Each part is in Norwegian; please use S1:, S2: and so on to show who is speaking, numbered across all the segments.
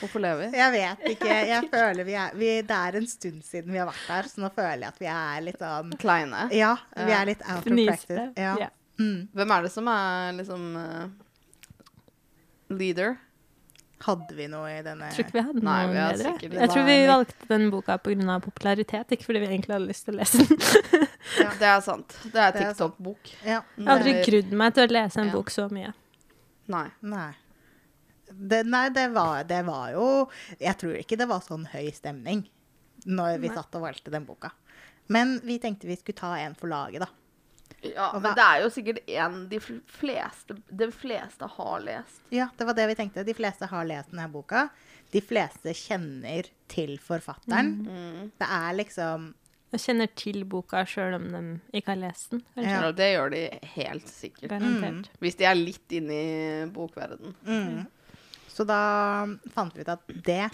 S1: Hvorfor lever vi?
S2: Jeg vet ikke. Jeg føler vi er vi, Det er en stund siden vi har vært der, så nå føler jeg at vi er litt sånn
S1: Kleine.
S2: Ja, vi er litt out of practice.
S3: Fniste.
S2: Ja.
S3: Ja.
S2: Mm.
S1: Hvem er det som er liksom eh, leader?
S2: Hadde vi noe i denne
S3: Tror ikke vi hadde
S1: Nei,
S3: noen
S1: vi har
S3: bedre.
S1: sikkert-
S3: Jeg tror vi
S2: Nei.
S3: valgte den boka pga. popularitet, ikke fordi vi egentlig hadde lyst til å lese den.
S2: Ja.
S1: Det er sant. Det er
S2: Det er sant.
S1: TikTok-bok.
S2: Ja.
S3: Jeg har aldri
S1: Eller-
S3: grudd meg til å lese en
S1: Ja.
S3: bok så mye.
S1: Nei.
S2: Nei. Det, nei, det var, det var jo Jeg tror ikke det var sånn høy stemning når vi
S3: Nei.
S2: satt og valgte den boka. Men vi tenkte vi skulle ta en for laget, da.
S1: Ja,
S2: Og
S1: men
S2: hva-
S1: det er jo sikkert en de fl- fleste, de fleste har lest.
S2: Ja, det var det vi tenkte. De fleste har lest denne boka. De fleste kjenner til forfatteren.
S1: Mm.
S2: Det er liksom
S3: Jeg kjenner til boka sjøl om de ikke har lest den. kanskje.
S2: Ja.
S1: Ja. Det gjør de helt sikkert.
S3: Garantert.
S1: Hvis de er litt inne i bokverden.
S2: mm. Så da fant vi ut at det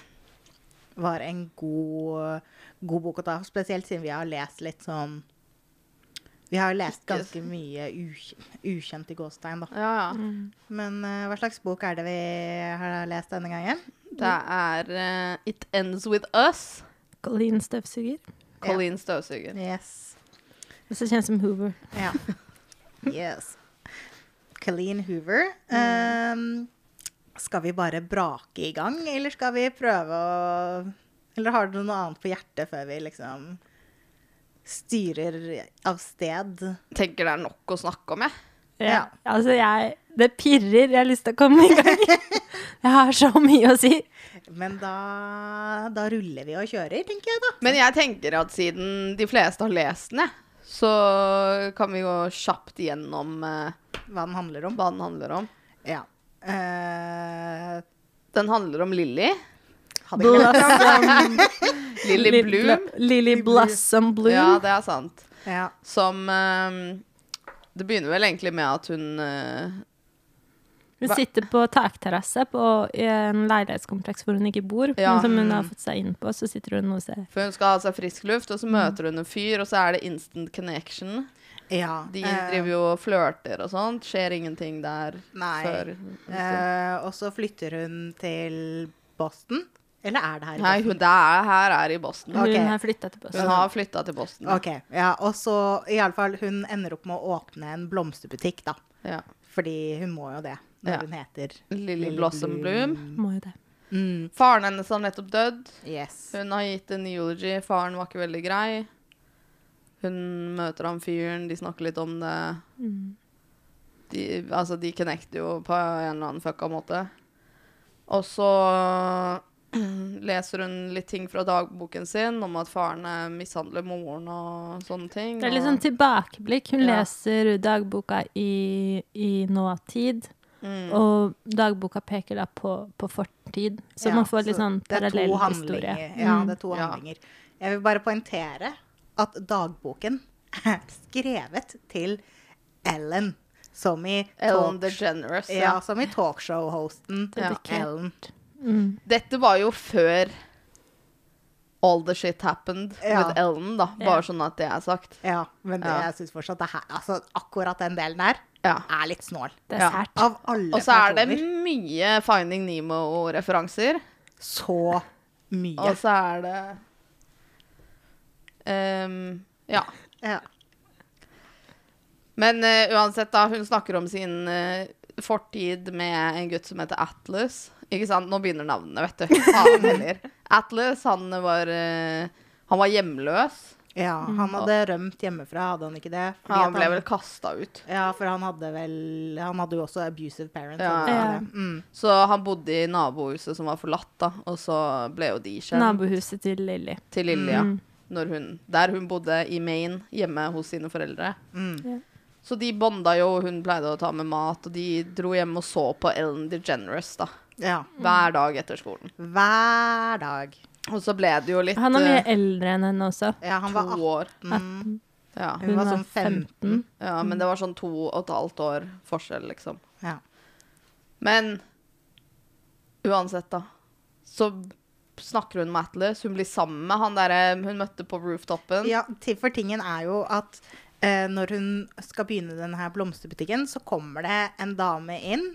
S2: var en god, god bok å ta. Spesielt siden vi har lest litt sånn Vi har lest
S1: Ikke-
S2: ganske mye ukj- ukjent i gåstein, da.
S1: Ja, ja.
S2: Men eh, hva slags bok er det vi har lest denne gangen?
S1: Det er eh, It Ends With Us.
S3: Colleen Støvsuger.
S1: Colleen Støvsuger.
S2: Yes.
S3: Også kjent som Hoover.
S2: Ja. yes. Colleen Hoover. Ehm, skal vi bare brake i gang, eller skal vi prøve å Eller har du noe annet på hjertet før vi liksom styrer av sted?
S1: Tenker det er nok å snakke om, jeg.
S2: Ja.
S3: Altså, jeg Det pirrer. Jeg har lyst til å komme i gang. jeg har så mye å si.
S2: Men da, da ruller vi og kjører, tenker jeg, da.
S1: Men jeg tenker at siden de fleste har lest den, jeg, så kan vi gå kjapt gjennom eh,
S2: Hva den handler om.
S1: hva den handler om.
S2: Ja. Eh,
S1: Den handler om Lilly.
S2: hadde ikke lest
S3: Blossom
S1: Lilly Bloom.
S3: Lily Blossom Bloom.
S1: Ja, det er sant.
S2: Ja.
S1: Som eh, Det begynner vel egentlig med at hun eh,
S3: Hun
S1: Hva-
S3: sitter på takterrasse på i en leilighetskompleks hvor hun ikke bor.
S1: Ja.
S3: Men som hun har fått seg inn på, så sitter hun og ser.
S1: For hun skal ha seg frisk luft, og så møter hun en fyr, og så er det instant connection.
S2: ja.
S1: De
S2: eh,
S1: driver jo og flørter og sånt. Skjer ingenting der
S2: Nei.
S1: før
S2: Eh, og så flytter hun til Boston. Eller er det her i
S1: Nei,
S2: Boston?
S1: hun der, her er i Boston.
S2: Ok.
S3: Hun har flytta til Boston.
S1: Hun har flytta til Boston.
S2: Ok, ja, Og så i alle fall, hun ender opp med å åpne en blomsterbutikk, da.
S1: Ja.
S2: Fordi hun må jo det, når
S1: Ja.
S2: hun heter
S1: Lilly Blossom Bloom.
S3: Må jo det.
S2: Mm,
S1: Faren hennes har nettopp dødd.
S2: yes.
S1: Hun har gitt en eulogy. Faren var ikke veldig grei. Hun møter han fyren, de snakker litt om det.
S3: Mm.
S1: De, altså, de connecter jo på en eller annen fucka måte. Og så leser hun litt ting fra dagboken sin om at faren eh, mishandler moren og sånne ting.
S3: Det er
S1: og-
S3: litt sånn tilbakeblikk. Hun
S1: Ja.
S3: leser dagboka i, i nåtid,
S1: Mm.
S3: og dagboka peker da på, på fortid. Så
S2: Ja,
S3: man får litt sånn Mm.
S2: det er to
S3: parallell historie.
S2: handlinger. Ja, det er to
S1: Ja.
S2: handlinger. Jeg vil bare poengtere at dagboken er skrevet til Ellen, som i
S1: Ellen
S2: talk-
S1: DeGeneres. Ja.
S2: ja, som i talkshow-hosten
S1: Ja.
S2: Ellen.
S3: Mm.
S1: Dette var jo før All the shit happened
S2: Ja.
S1: with Ellen, da.
S3: Ja.
S1: Bare sånn at det er sagt.
S2: Ja, men det,
S1: Ja.
S2: jeg syns fortsatt det her, altså, akkurat den delen der
S1: Ja.
S2: er litt snål.
S3: Det
S1: Ja.
S3: er sært.
S2: Av alle
S1: Og så er det
S2: personer.
S1: mye Finding Nemo-referanser.
S2: Så mye.
S1: Og så er det Ehm, Ja.
S2: Ja.
S1: Men eh, uansett, da. Hun snakker om sin eh, fortid med en gutt som heter Atlas. Ikke sant? Nå begynner navnene, vet du. Faen heller. Atlas, han var eh, Han var hjemløs.
S2: ja, han hadde rømt hjemmefra, hadde han ikke det? Fordi at
S1: Mm. Han ble vel kasta ut.
S2: Ja, for han hadde vel Han hadde jo også abusive parents.
S1: Ja.
S2: hadde han
S3: Ja.
S2: ikke det? Mm.
S1: Så han bodde i nabohuset som var forlatt, da. Og så ble jo de kjent.
S3: Nabohuset til Lilly.
S1: til Lilja. Når hun, der hun bodde i Maine, hjemme hos sine foreldre.
S2: Mm.
S3: Ja.
S1: Så de bonda jo, hun pleide å ta med mat, og de dro hjem og så på Ellen DeGeneres da,
S2: Ja.
S1: hver dag etter skolen.
S2: Hver dag.
S1: Og så ble det jo litt
S3: Han er mye
S1: eh,
S3: eldre enn henne også.
S2: Ja, han var
S1: to
S2: 18.
S1: år. Ja.
S2: Hun var sånn 15.
S1: ja, men det var sånn to og et halvt år forskjell, liksom.
S2: Ja.
S1: Men uansett, da, så snakker hun med Atlas. Hun blir sammen med han derre hun møtte på rooftopen.
S2: Ja, til- for tingen er jo at eh, når hun skal begynne denne her blomsterbutikken, så kommer det en dame inn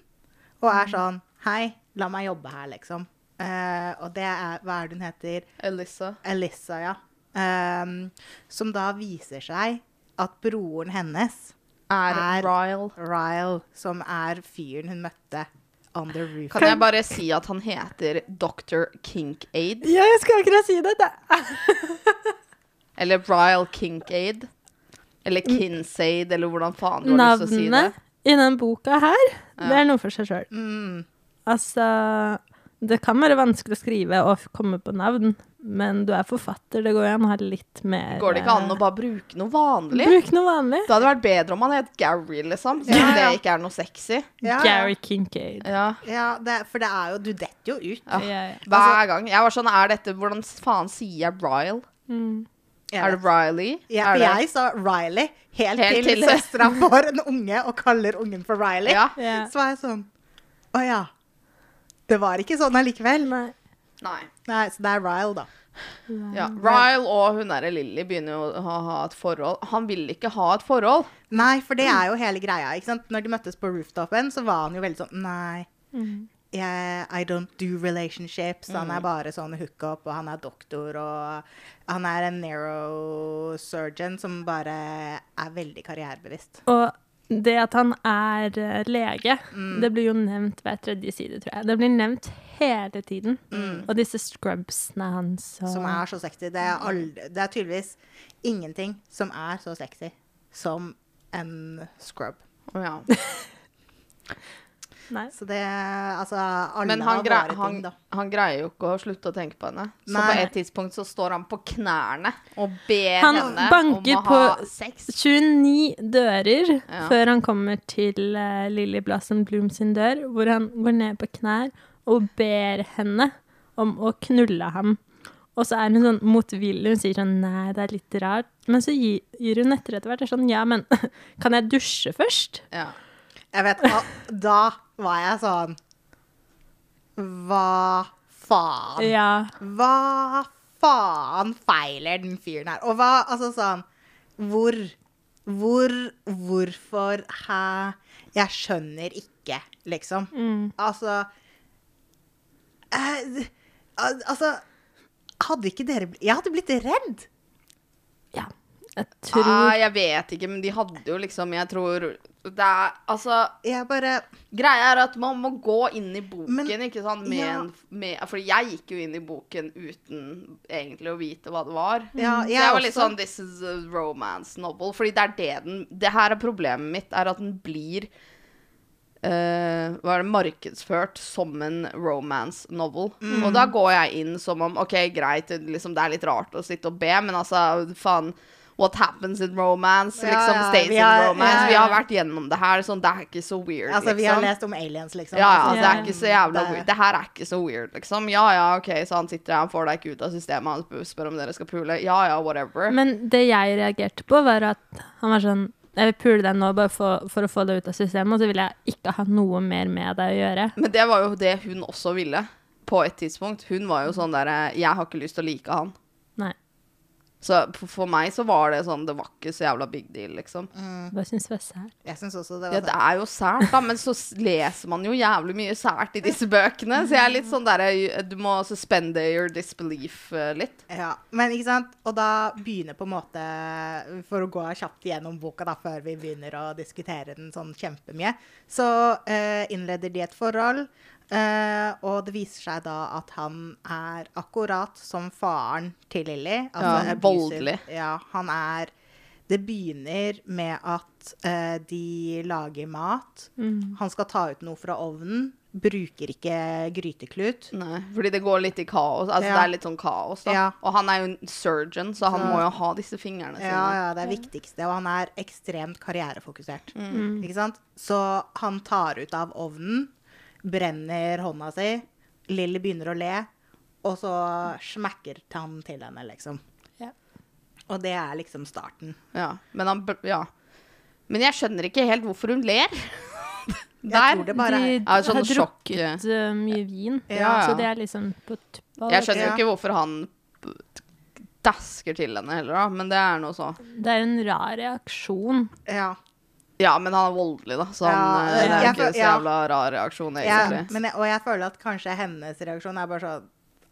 S2: og
S1: Mm.
S2: er sånn Hei, la meg jobbe her, liksom. Eh, og det er Hva er det hun heter?
S1: Elissa.
S2: Elissa, ja. Ehm, som da viser seg at broren hennes,
S1: Er,
S2: Er-
S1: Ryle.
S2: Ryle, som er fyren hun møtte on the roof
S1: Kan jeg bare si at han heter Dr. Kinkaid?
S3: Ja, jeg skal akkurat si det! det er-
S1: Eller Ryle Kinkaid? Eller Kinsaid, eller hvordan faen du har lyst til å si det.
S3: Navnet i den boka her, det er noe for seg sjøl.
S2: Mm,
S3: Altså Det kan være vanskelig å skrive og f- komme på navn, men du er forfatter, det går jo an å ha litt mer eh,
S1: Går det ikke an å bare bruke noe vanlig?
S3: Bruk noe vanlig.
S1: Det hadde vært bedre om han het Gary, liksom. Siden
S2: Ja, ja.
S1: det ikke er noe sexy.
S2: ja,
S3: Gary Kincaid.
S1: Ja.
S2: ja det, for det er jo Du detter jo ut.
S1: Ja.
S3: Ja, ja.
S2: Altså-
S1: Hver gang. Jeg var sånn, er dette Hvordan faen sier jeg Ryle?
S3: Mm.
S2: Jeg
S1: Er det
S2: vet.
S1: Riley?
S2: Ja,
S1: er
S2: for
S1: det?
S2: jeg sa Riley helt,
S1: Helt
S2: til,
S1: til-
S2: søstera får en unge og kaller ungen for Riley.
S1: Ja.
S3: Ja.
S2: Så var jeg sånn Å ja. Det var ikke sånn allikevel. Nei.
S1: Nei.
S2: så det er Ryle, da.
S1: Ja.
S2: Mm.
S1: Ryle og hun derre Lilly begynner jo å ha, ha et forhold. Han vil ikke ha et forhold.
S2: Nei, for det er jo hele greia. ikke sant? Når de møttes på rooftopen, så var han jo veldig sånn Nei,
S3: Mm.
S2: jeg- I don't do relationships. Han
S1: Mm.
S2: er bare sånn hookup, og han er doktor, og han er en neurosurgeon som bare er veldig karrierebevisst.
S3: Og det at han er eh, lege,
S1: Mm.
S3: det blir jo nevnt hver tredje side, tror jeg. Det blir nevnt hele tiden.
S1: Mm.
S3: Og disse scrubsene hans og
S2: Som er så sexy. Det er, aldri, det er tydeligvis ingenting som er så sexy som en scrub.
S1: Ja.
S3: Nei.
S2: Så det Altså, alle
S1: Men han,
S2: har
S1: grei,
S2: våre
S1: han,
S2: ting, da.
S1: han greier jo ikke å slutte å tenke på henne. Så
S2: Nei.
S1: på et tidspunkt så står han på knærne og ber
S3: Han
S1: henne
S3: banker
S1: om å
S3: på-
S1: ha sex.
S3: 29 dører
S1: Ja.
S3: før han kommer til eh, Lily Blossom Bloom sin dør, hvor han går ned på knær og ber henne om å knulle ham. Og så er hun sånn motvillig, hun sier sånn nei, det er litt rart. Men så gir, gir hun etter etter hvert. Det er sånn ja, men kan jeg dusje først?
S1: Ja.
S2: Jeg vet, al- Da var jeg sånn Hva faen?
S3: Ja.
S2: Hva faen feiler den fyren her? Og hva Altså sånn Hvor? Hvor? Hvorfor? Hæ? Jeg skjønner ikke, liksom. Altså eh, al- Altså Hadde ikke dere bl- Jeg hadde blitt redd.
S3: Ja. Jeg tror
S1: Ah, jeg vet ikke, men de hadde jo liksom Jeg tror det er, Altså
S2: Jeg bare
S1: Greia er at man må gå inn i boken,
S2: Men-
S1: ikke sant? Med
S2: ja.
S1: en, med, fordi jeg gikk jo inn i boken uten egentlig å vite hva det var.
S2: Ja,
S1: Så
S2: jeg
S1: jeg var litt
S2: også.
S1: sånn This is a romance novel. Fordi det er det den Det her er problemet mitt, er at den blir eh, hva er det, markedsført som en romance novel.
S2: Mm.
S1: Og da går jeg inn som om OK, greit, det- liksom, det er litt rart å sitte og be, men altså, faen What happens in romance?
S2: Ja,
S1: liksom,
S2: ja,
S1: stays
S2: vi har-
S1: in romance.
S2: ja,
S1: Vi
S2: ja.
S1: har vært gjennom det her. Sånn, det er ikke så weird,
S2: Altså, vi har
S1: liksom.
S2: lest om aliens, liksom.
S1: Ja, ja,
S2: Altså,
S1: det er ikke så jævla
S2: det er-
S1: weird. Det her er ikke så weird, liksom. Ja, ja, OK, så han sitter der, han får deg ikke ut av systemet, han spør om dere skal pule. Ja, ja, whatever.
S3: Men det jeg reagerte på, var at han var sånn Jeg vil pule deg nå bare for, for å få deg ut av systemet, og så vil jeg ikke ha noe mer med deg å gjøre.
S1: Men det var jo det hun også ville, på et tidspunkt. Hun var jo sånn derre Jeg har ikke lyst til å like han.
S3: Nei.
S1: Så f- for meg så var det sånn Det var ikke så jævla big deal, liksom.
S3: Hva syns du er sært?
S2: Jeg syns også Mm, det var
S1: Ja, det er jo sært, da, men så s- leser man jo jævlig mye sært i disse bøkene. Så jeg er litt sånn derre Du må suspende your disbelief eh, litt.
S2: Ja, men ikke sant? Og da begynner på en måte, for å gå kjapt gjennom boka da, før vi begynner å diskutere den sånn kjempemye, så eh, innleder de et forhold, eh, og det viser seg da at han er akkurat som faren til Lilly. Altså,
S1: Ja,
S2: abusive.
S1: voldelig.
S2: Ja, han er Det begynner med at eh, de lager mat.
S3: Mm.
S2: Han skal ta ut noe fra ovnen. Bruker ikke gryteklut.
S1: Nei, fordi det går litt i kaos. Altså,
S2: Ja.
S1: Det er litt sånn kaos, da.
S2: Ja.
S1: Og han er jo en surgeon, så han
S2: Så-
S1: må jo ha disse fingrene sine.
S2: Ja, ja, det er viktigste. Og han er ekstremt karrierefokusert.
S3: Mm.
S2: Ikke sant? Så han tar ut av ovnen, brenner hånda si, Lill begynner å le, og så smekker han til henne, liksom.
S3: Ja.
S2: Og det er liksom starten.
S1: Ja, men han bør- Ja. Men jeg skjønner ikke helt hvorfor hun ler. Der.
S2: tror det bare
S3: de
S2: er-
S1: Ja, sånn
S3: har
S1: sjokk-
S3: drukket eh, mye vin,
S1: Ja, ja.
S3: så det er liksom på tuppa.
S1: Jeg skjønner jo
S2: Ja.
S1: ikke hvorfor han b- dasker til henne heller, da. Men det er noe så
S3: Det er en rar reaksjon.
S2: Ja.
S1: Ja, men han er voldelig, da, så han,
S2: Ja,
S1: eh, det er
S2: jeg
S1: jo ikke
S2: føl-
S1: så
S2: ja.
S1: jævla rar reaksjon,
S2: Jeg,
S1: egentlig.
S2: men jeg, og jeg føler at kanskje hennes reaksjon er bare sånn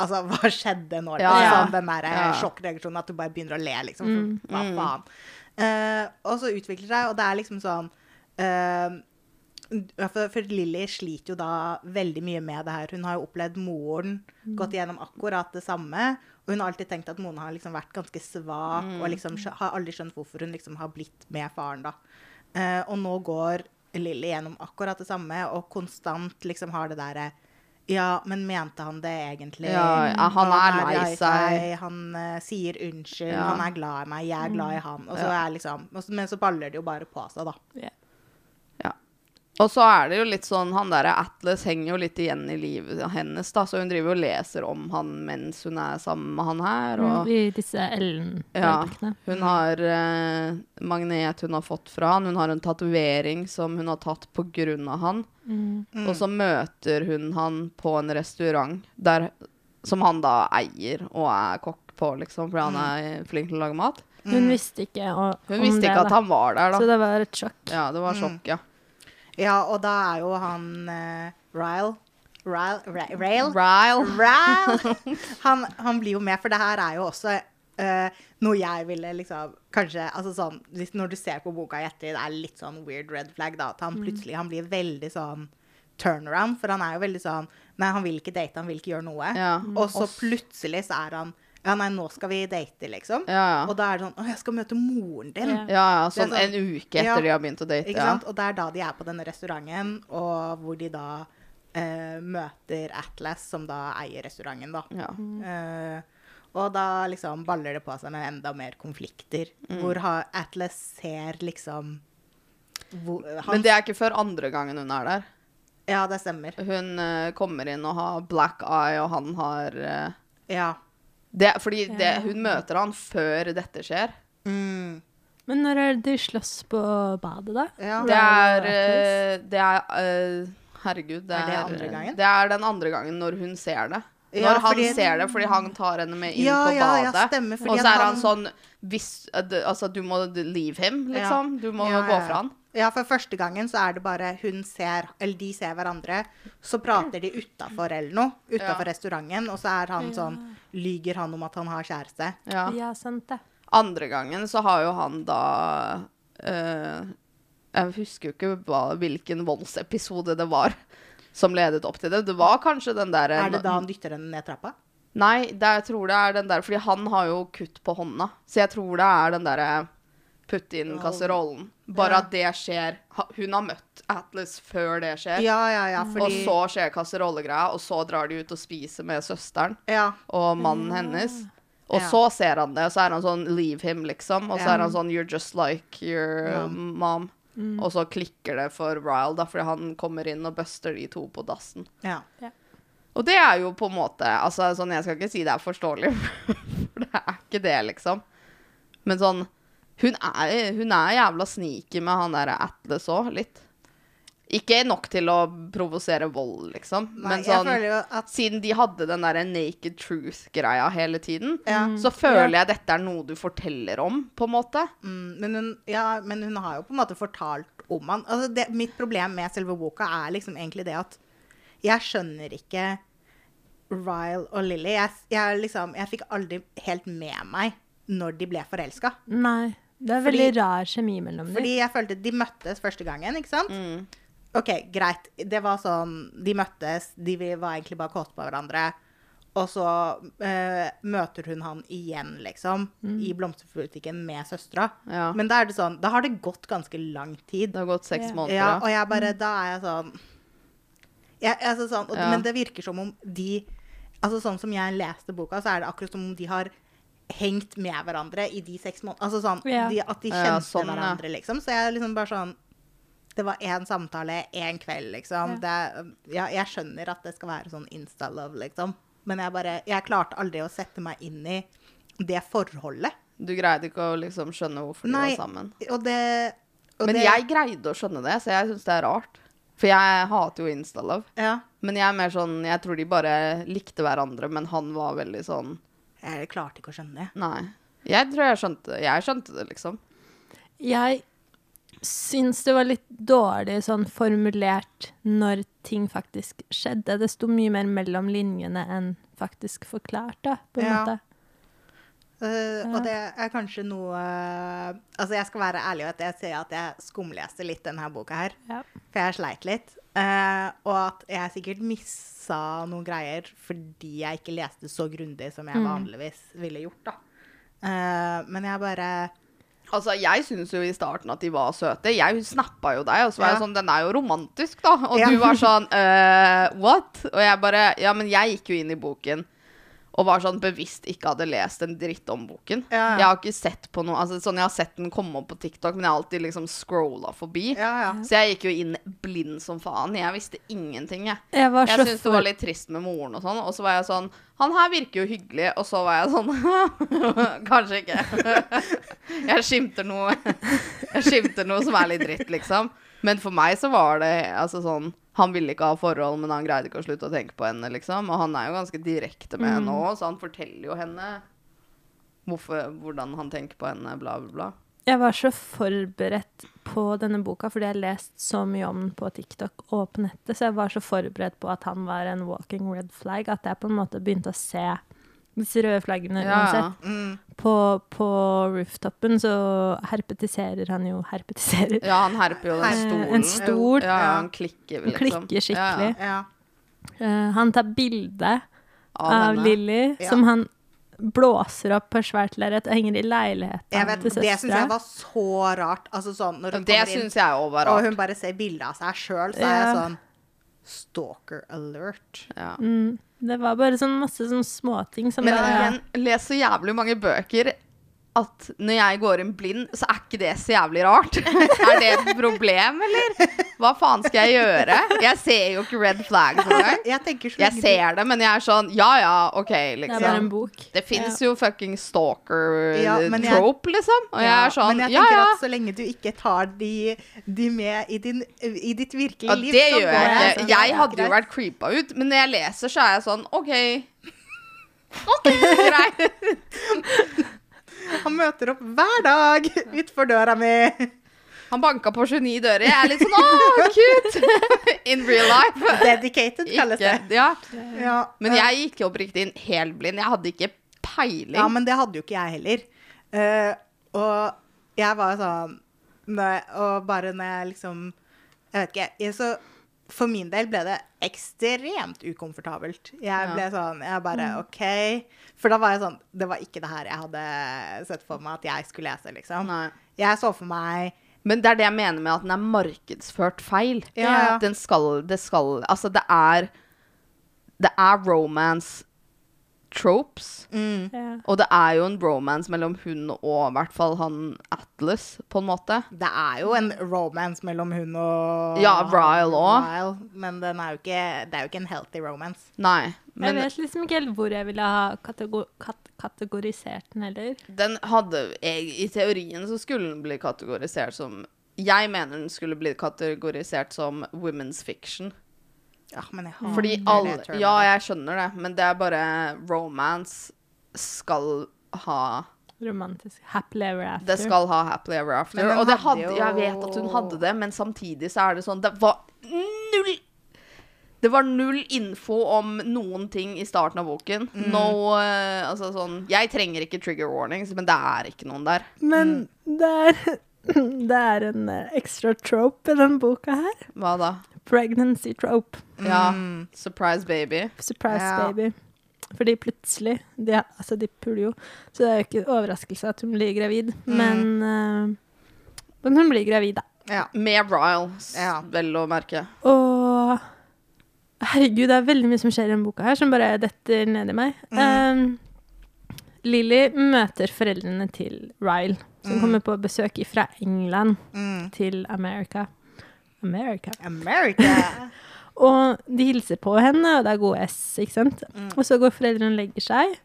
S2: Altså, hva skjedde nå?
S1: Ja,
S3: ja.
S2: Sånn, den der
S1: Ja.
S2: sjokkreaksjonen at du bare begynner å le, liksom. For, hva faen? Eh, og så utvikler det seg, og det er liksom sånn eh, for, for Lilly sliter jo da veldig mye med det her. Hun har jo opplevd moren
S1: Mm.
S2: gått igjennom akkurat det samme. Og hun har alltid tenkt at Mona har liksom vært ganske svak,
S1: Mm.
S2: og liksom skjø- har aldri skjønt hvorfor hun liksom har blitt med faren, da. Eh, og nå går Lilly gjennom akkurat det samme, og konstant liksom har det derre Ja, men mente han det egentlig?
S1: Ja, ja, han er lei seg.
S2: Han eh, sier unnskyld,
S1: Ja. Mm.
S2: han er glad i meg, jeg er glad i han. Og så er liksom, og så- men så baller det jo bare på seg, da.
S3: Ja.
S1: Og så er det jo litt sånn, han der Atlas henger jo litt igjen i livet hennes, da, så hun driver og leser om han mens hun er sammen med han her, og
S3: I disse Ellen-bøkene.
S1: ja, hun har eh, magnet hun har fått fra han, hun har en tatovering som hun har tatt på grunn av han,
S3: Mm.
S1: og så møter hun han på en restaurant, der, som han da eier og er kokk på, liksom, fordi han er flink til å lage mat.
S3: Hun visste ikke å-
S1: Hun
S3: om
S1: visste
S3: det,
S1: ikke at
S3: da.
S1: han var der,
S3: Så
S1: da.
S3: det var et sjokk.
S1: Ja, det var sjokk, ja.
S2: Ja, og da er jo han eh, Ryle Ryle? Ra- Rail?
S1: Ryle.
S2: Ryle! Han, han blir jo med, for det her er jo også eh, noe jeg ville liksom Kanskje altså sånn hvis, Når du ser på boka i ettertid, det er litt sånn weird red flag, da. At han plutselig han blir veldig sånn turnaround, for han er jo veldig sånn Nei, han vil ikke date, han vil ikke gjøre noe.
S1: Ja.
S2: Og så plutselig så er han Ja, nei, nå skal vi date, liksom.
S1: Ja, ja.
S2: Og da er det sånn Å, jeg skal møte moren din.
S3: Ja.
S1: Ja, ja,
S2: Det er
S1: sånn
S2: sånn-
S1: en uke etter
S2: Ja.
S1: de har begynt å date.
S2: Ikke
S1: ja.
S2: sant? Og det er da de er på denne restauranten, og hvor de da eh, møter Atlas, som da eier restauranten, da.
S1: Ja.
S2: Eh, og da liksom baller det på seg med enda mer konflikter,
S1: Mm.
S2: hvor ha, Atlas ser liksom hvor, han,
S1: Men det er ikke før andre gangen hun er der.
S2: Ja, det stemmer.
S1: Hun eh, kommer inn og har black eye, og han har eh,
S2: Ja.
S1: det, Fordi det, hun møter han før dette skjer.
S2: Mm,
S3: Men når er det de slåss på badet, da?
S2: ja.
S1: Det
S3: Ryan
S1: er,
S3: og
S1: eh, det er eh, Herregud, det
S2: Er
S1: er,
S2: det andre gangen?
S1: Det er den andre gangen når hun ser det. Når
S2: Ja,
S1: han
S2: fordi-
S1: ser det, fordi han tar henne med inn
S2: Ja,
S1: på
S2: ja,
S1: badet.
S2: ja, stemmer, fordi
S1: og
S2: at
S1: så er han
S2: han-
S1: sånn hvis, eh, d- Altså, du må leave him, liksom. Du må
S2: Ja,
S1: gå
S2: ja, ja.
S1: fra han.
S2: Ja, for første gangen så er det bare hun ser, eller de ser hverandre, så prater de utafor eller noe, utafor
S1: Ja.
S2: restauranten, og så er han sånn Lyger han om at han har kjæreste?
S1: Ja.
S3: Ja, sant det.
S1: Andre gangen så har jo han da eh, Jeg husker jo ikke hva, hvilken voldsepisode det var som ledet opp til det. Det var kanskje den der
S2: Er det da han dytter henne ned trappa?
S1: Nei, det, jeg tror det er den der Fordi han har jo kutt på hånda. Så jeg tror det er den derre putt inn kasserollen. Bare
S2: Ja.
S1: at det skjer ha- Hun har møtt Atlas før det skjer.
S2: Ja, ja, ja, fordi
S1: Og så skjer kasserollegreia, og så drar de ut og spiser med søsteren
S2: Ja.
S1: og mannen hennes. Og
S2: Ja.
S1: så ser han det, og så er han sånn Leave him, liksom. Og så
S2: Ja.
S1: er han sånn You're just like your um, mom.
S2: Mm.
S1: Og så klikker det for Ryle, da, fordi han kommer inn og buster de to på dassen.
S2: ja.
S1: Og det er jo på en måte Altså, sånn, jeg skal ikke si det er forståelig, for det er ikke det, liksom. Men sånn Hun er, hun er jævla sneaky med han derre Atlas òg, litt. Ikke nok til å provosere vold, liksom.
S2: Nei,
S1: men
S2: jeg
S1: sånn
S2: føler jo at
S1: siden de hadde den der naked truth-greia hele tiden,
S2: Ja.
S1: så føler jeg dette er noe du forteller om, på en måte.
S2: Mm, men, hun, ja, men hun har jo på en måte fortalt om han. Altså det, mitt problem med selve boka er liksom egentlig det at jeg skjønner ikke Ryle og Lilly. Jeg, jeg, liksom, jeg fikk aldri helt med meg når de ble forelska.
S3: Nei. Det er
S2: Fordi-
S3: veldig rar kjemi mellom dem.
S2: Fordi jeg følte de møttes første gangen, ikke sant? OK, greit. Det var sånn De møttes, de var egentlig bare kåte på hverandre. Og så eh, møter hun han igjen, liksom, i blomsterbutikken med søstera.
S1: Ja.
S2: Men da er det sånn, da har det gått ganske lang tid.
S1: Det har gått seks
S3: Ja.
S1: måneder.
S2: Ja,
S1: da.
S2: og jeg bare Da er jeg sånn jeg, jeg er så sånn, og,
S1: Ja.
S2: Men det virker som om de Altså Sånn som jeg leste boka, så er det akkurat som om de har hengt med hverandre i de seks månedene. Altså sånn,
S3: Ja.
S2: de, At de
S1: Ja,
S2: kjente
S1: sånn, ja.
S2: hverandre, liksom. Så jeg er liksom bare sånn Det var én samtale, én kveld, liksom. Det, ja, jeg skjønner at det skal være sånn insta-love, liksom. Men jeg bare Jeg klarte aldri å sette meg inn i det forholdet.
S1: Du greide ikke å liksom skjønne hvorfor
S2: Nei,
S1: de var sammen.
S2: og det og
S1: Men
S2: det,
S1: jeg greide å skjønne det, så jeg syns det er rart. For jeg hater jo Instalove.
S2: Ja.
S1: Men jeg er mer sånn Jeg tror de bare likte hverandre, men han var veldig sånn
S2: Jeg klarte ikke å skjønne det.
S1: Nei. Jeg tror jeg skjønte det. Jeg skjønte det, liksom.
S3: Jeg syns det var litt dårlig sånn formulert når ting faktisk skjedde. Det sto mye mer mellom linjene enn faktisk forklart, da, på en
S2: Ja.
S3: måte.
S2: Eh,
S3: Ja.
S2: Og det er kanskje noe Altså, jeg skal være ærlig og at jeg sier at jeg skumleste litt denne boka her.
S3: Ja.
S2: For jeg sleit litt. eh, og at jeg sikkert missa noen greier fordi jeg ikke leste så grundig som jeg vanligvis ville gjort, da. Eh, men jeg bare
S1: Altså, Jeg syns jo i starten at de var søte. Jeg snappa jo deg, og så var jeg
S2: Ja.
S1: sånn Den er jo romantisk, da. Og
S2: Ja.
S1: du var sånn «Øh, What? Og jeg bare Ja, men jeg gikk jo inn i boken og var sånn bevisst ikke hadde lest en dritt om boken.
S2: Ja.
S1: Jeg har ikke sett på noe Altså, sånn Jeg har sett den komme opp på TikTok, men jeg har alltid liksom scrolla forbi.
S2: Ja, ja.
S1: Så jeg gikk jo inn blind som faen. Jeg visste ingenting, jeg.
S3: Jeg var
S1: Jeg
S3: så
S1: syntes det
S3: for-
S1: var litt trist med moren og sånn, og så var jeg sånn Han her virker jo hyggelig, og så var jeg sånn Kanskje ikke. Jeg skimter noe Jeg skimter noe som er litt dritt, liksom. Men for meg så var det altså sånn Han ville ikke ha forhold, men han greide ikke å slutte å tenke på henne, liksom. Og han er jo ganske direkte med henne
S3: Mm.
S1: òg, så han forteller jo henne hvorfor, hvordan han tenker på henne, bla, bla, bla.
S3: Jeg var så forberedt på denne boka fordi jeg har lest så mye om den på TikTok og på nettet, så jeg var så forberedt på at han var en walking red flag, at jeg på en måte begynte å se disse røde flaggene
S1: Ja, ja.
S3: uansett.
S2: Mm,
S3: På, på rooftopen så herpetiserer han jo herpetiserer.
S1: ja, han herper jo den
S2: Eh,
S1: stolen.
S3: en stol.
S1: Ja, ja, han klikker,
S3: Han
S1: liksom.
S3: klikker skikkelig.
S2: Ja.
S3: Eh, han tar bilde
S1: Av
S3: av,
S1: henne.
S3: Lilly,
S2: Ja.
S3: som han blåser opp på svært lerret og henger i
S2: Jeg
S3: leiligheten
S2: vet,
S3: til
S2: det syns jeg
S3: søstera.
S2: var så rart. Altså sånn når hun
S1: Det
S2: kommer inn
S1: syns jeg òg var
S2: og
S1: rart.
S2: hun bare ser bilde av seg sjøl, så er jeg
S3: Ja.
S2: sånn Stalker alert.
S1: Ja.
S3: Mm, det var bare sånn masse sånn småting som
S1: Men
S3: bare
S1: igjen, les så jævlig mange bøker at når jeg går inn blind, så er ikke det så jævlig rart. er det et problem, eller? Hva faen skal jeg gjøre? Jeg ser jo ikke red flags engang.
S2: Jeg tenker så
S1: Jeg
S2: lenge
S1: ser det, men jeg er sånn Ja ja, OK,
S3: Det er bare en
S1: liksom.
S3: bok.
S1: Det fins jo fucking stalker
S2: Ja, men jeg-
S1: trope, liksom. Og jeg er sånn
S2: men jeg
S1: Ja
S2: tenker
S1: ja.
S2: at så lenge du ikke tar de, de med i, din, i ditt virkelige
S1: Ja,
S2: liv,
S1: det
S2: går
S1: gjør jeg
S2: det
S1: ikke.
S2: sånn.
S1: Jeg hadde jo
S2: Greit.
S1: vært creepa ut, men når jeg leser, så er jeg sånn OK. OK, greit.
S2: Han møter opp hver dag utfor døra mi.
S1: Han banka på 29 dører. Jeg er litt sånn åh, cute! In real life.
S2: Dedicated, kalles
S1: Ikke,
S2: det.
S1: ja.
S2: Ja.
S1: Men jeg gikk jo oppriktig inn helt blind. Jeg hadde ikke peiling.
S2: ja, men det hadde jo ikke jeg heller. Eh, og jeg var sånn når jeg, Og bare når jeg liksom Jeg vet ikke. Jeg, så for min del ble det ekstremt ukomfortabelt. Jeg
S1: Ja.
S2: ble sånn Jeg bare OK. For da var jeg sånn Det var ikke det her jeg hadde sett for meg at jeg skulle lese, liksom.
S1: Nei.
S2: Jeg så for meg
S1: Men det er det jeg mener med at den er markedsført feil.
S2: Ja, ja.
S1: Den skal, det skal Altså, det er Det er romance tropes.
S3: Ja.
S1: Og det er jo en romance mellom hun og i hvert fall han Atlas, på en måte.
S2: Det er jo en romance mellom hun og
S1: Ja, Ryle også.
S2: Ryle, Men den er jo ikke, det er jo ikke en healthy romance.
S1: Nei.
S3: Jeg
S1: Men
S3: vet liksom ikke helt hvor jeg ville ha kategor kat kategorisert den heller.
S1: den hadde I teorien så skulle den bli kategorisert som Jeg mener den skulle bli kategorisert som women's fiction.
S2: Ja, Ah, men jeg har
S1: Fordi alle Ja, jeg skjønner det, men det er bare romance skal ha
S3: Romantisk. Happily ever after.
S1: Det skal ha happily ever after.
S2: Men den
S1: Og det
S2: hadde
S1: hadde
S2: jo-
S1: Jeg vet at hun hadde det, men samtidig så er det sånn Det var null Det var null info om noen ting i starten av boken.
S2: Mm.
S1: No eh, Altså sånn Jeg trenger ikke trigger warnings, men det er ikke noen der.
S3: Men
S1: Mm.
S3: det er, det er en eh, ekstra trope i den boka her.
S1: Hva da?
S3: Pregnancy trope.
S2: Mm.
S1: Ja. Surprise baby.
S3: Surprise
S2: Ja.
S3: baby. Fordi plutselig de, Altså, de puler jo, så det er jo ikke overraskelse at hun blir gravid.
S2: Mm.
S3: Men, eh, men hun blir gravid, da.
S2: Ja.
S1: Med Riles,
S2: Ja.
S1: vel å merke.
S3: Og herregud, det er veldig mye som skjer i denne boka her, som bare detter ned i meg.
S2: Mm.
S3: Um, Lily møter foreldrene til Ryle, som
S2: Mm.
S3: kommer på besøk fra England
S2: Mm.
S3: til America. America.
S2: America!
S3: Og de hilser på henne, og det er gode S, ikke sant?
S2: Mm.
S3: Og så går foreldrene og legger seg,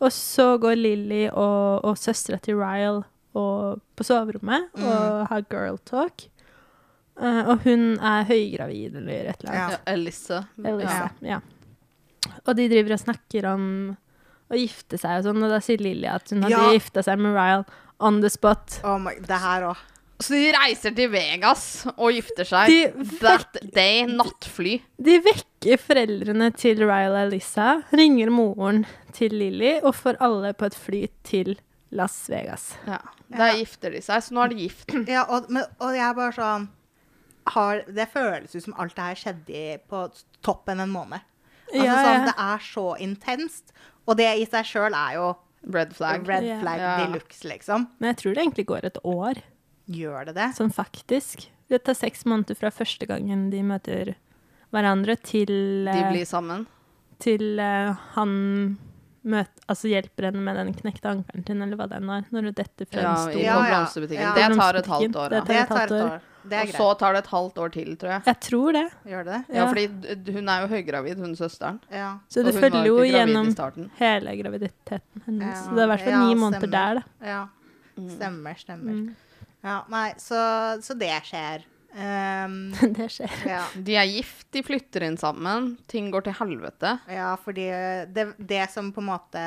S3: og så går Lily og, og søstera til Ryle og, på soverommet og har girl talk. Eh, og hun er høygravid eller et eller annet.
S2: Ja.
S1: Ja, Elise.
S3: Elise, ja. Og de driver og snakker om å gifte seg og sånn, og da sier Lilly at hun hadde
S2: Ja.
S3: gifta seg med Ryle on the spot.
S2: Oh my, det her òg.
S1: Så de reiser til Vegas og gifter seg.
S3: De
S1: That day, nattfly.
S3: De vekker foreldrene til Ryle og Elisa, ringer moren til Lilly og får alle på et fly til Las Vegas.
S1: Ja. Der gifter de seg, så nå er de gift.
S2: Ja, og, men, og jeg er bare sånn har, Det føles ut som alt det her skjedde i- på toppen en måned. Altså,
S3: Ja,
S2: sånn,
S3: ja.
S2: Det er så intenst. Og det i seg sjøl er jo
S1: Red flag.
S2: red
S3: Ja.
S2: flag
S1: Ja.
S2: de luxe, liksom.
S3: Men jeg tror det egentlig går et år,
S2: Gjør det det?
S3: sånn faktisk. Det tar seks måneder fra første gangen de møter hverandre, til,
S1: De
S3: eh,
S1: blir sammen.
S3: til eh, han møt, altså hjelper henne med den knekte ankelen sin, eller hva den var, når hun detter fra
S1: Ja,
S3: en
S1: i,
S3: stol.
S2: Ja,
S1: på
S2: ja.
S1: blomsterbutikken.
S2: Ja.
S1: Det tar et halvt år.
S3: Det
S1: Ja.
S3: tar
S2: Det
S3: et
S2: tar
S3: halvt
S2: et
S3: år.
S2: år. Det er
S1: Og så
S2: greit.
S1: tar det et halvt år til, tror jeg.
S3: Jeg tror det.
S2: Gjør det det?
S1: Ja,
S3: Ja.
S1: fordi d- hun er jo høygravid, hun søsteren.
S2: Ja.
S3: Så du
S1: og hun var
S3: følger jo
S1: ikke gravid
S3: gjennom
S1: i starten.
S3: hele graviditeten hennes.
S2: Ja.
S3: Så det er i hvert fall
S2: Ja,
S3: ni måneder
S2: stemmer.
S3: der, da.
S2: ja.
S1: Mm.
S2: Stemmer, stemmer.
S3: Mm.
S2: Ja, nei, så, så det skjer. Ehm,
S3: Mm. Det skjer.
S2: ja.
S1: De er gift, de flytter inn sammen. Ting går til helvete.
S2: ja, fordi det, det som på en måte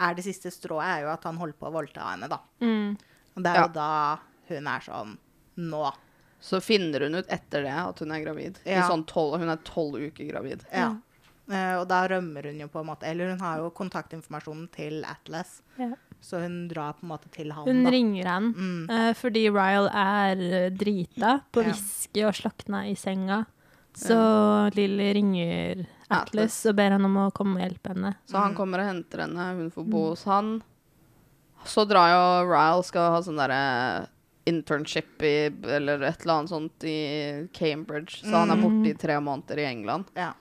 S2: er det siste strået, er jo at han holder på å voldta henne, da.
S3: Mm.
S2: Og det er
S1: Ja.
S2: jo da hun er sånn Nå.
S1: Så finner hun ut etter det at hun er gravid. I
S2: Ja.
S1: sånn 12, hun er tolv uker gravid.
S2: Ja.
S3: Mm.
S2: Eh, og da rømmer hun jo på en måte Eller hun har jo kontaktinformasjonen til Atlas,
S3: Ja.
S2: så hun drar på en måte til han,
S3: Hun
S2: da.
S3: ringer han
S2: Mm.
S3: eh, fordi Ryle er eh, drita
S2: Ja.
S3: på whisky og slokna i senga. Så Lilly ringer Atlas
S1: Atlas.
S3: og ber han om å komme og hjelpe henne.
S1: Så han kommer og henter henne, hun får bo hos han. Så drar jo Ryle skal ha sånn derre internship i eller et eller annet sånt i Cambridge. Så han er borte i tre måneder i England.
S2: Ja.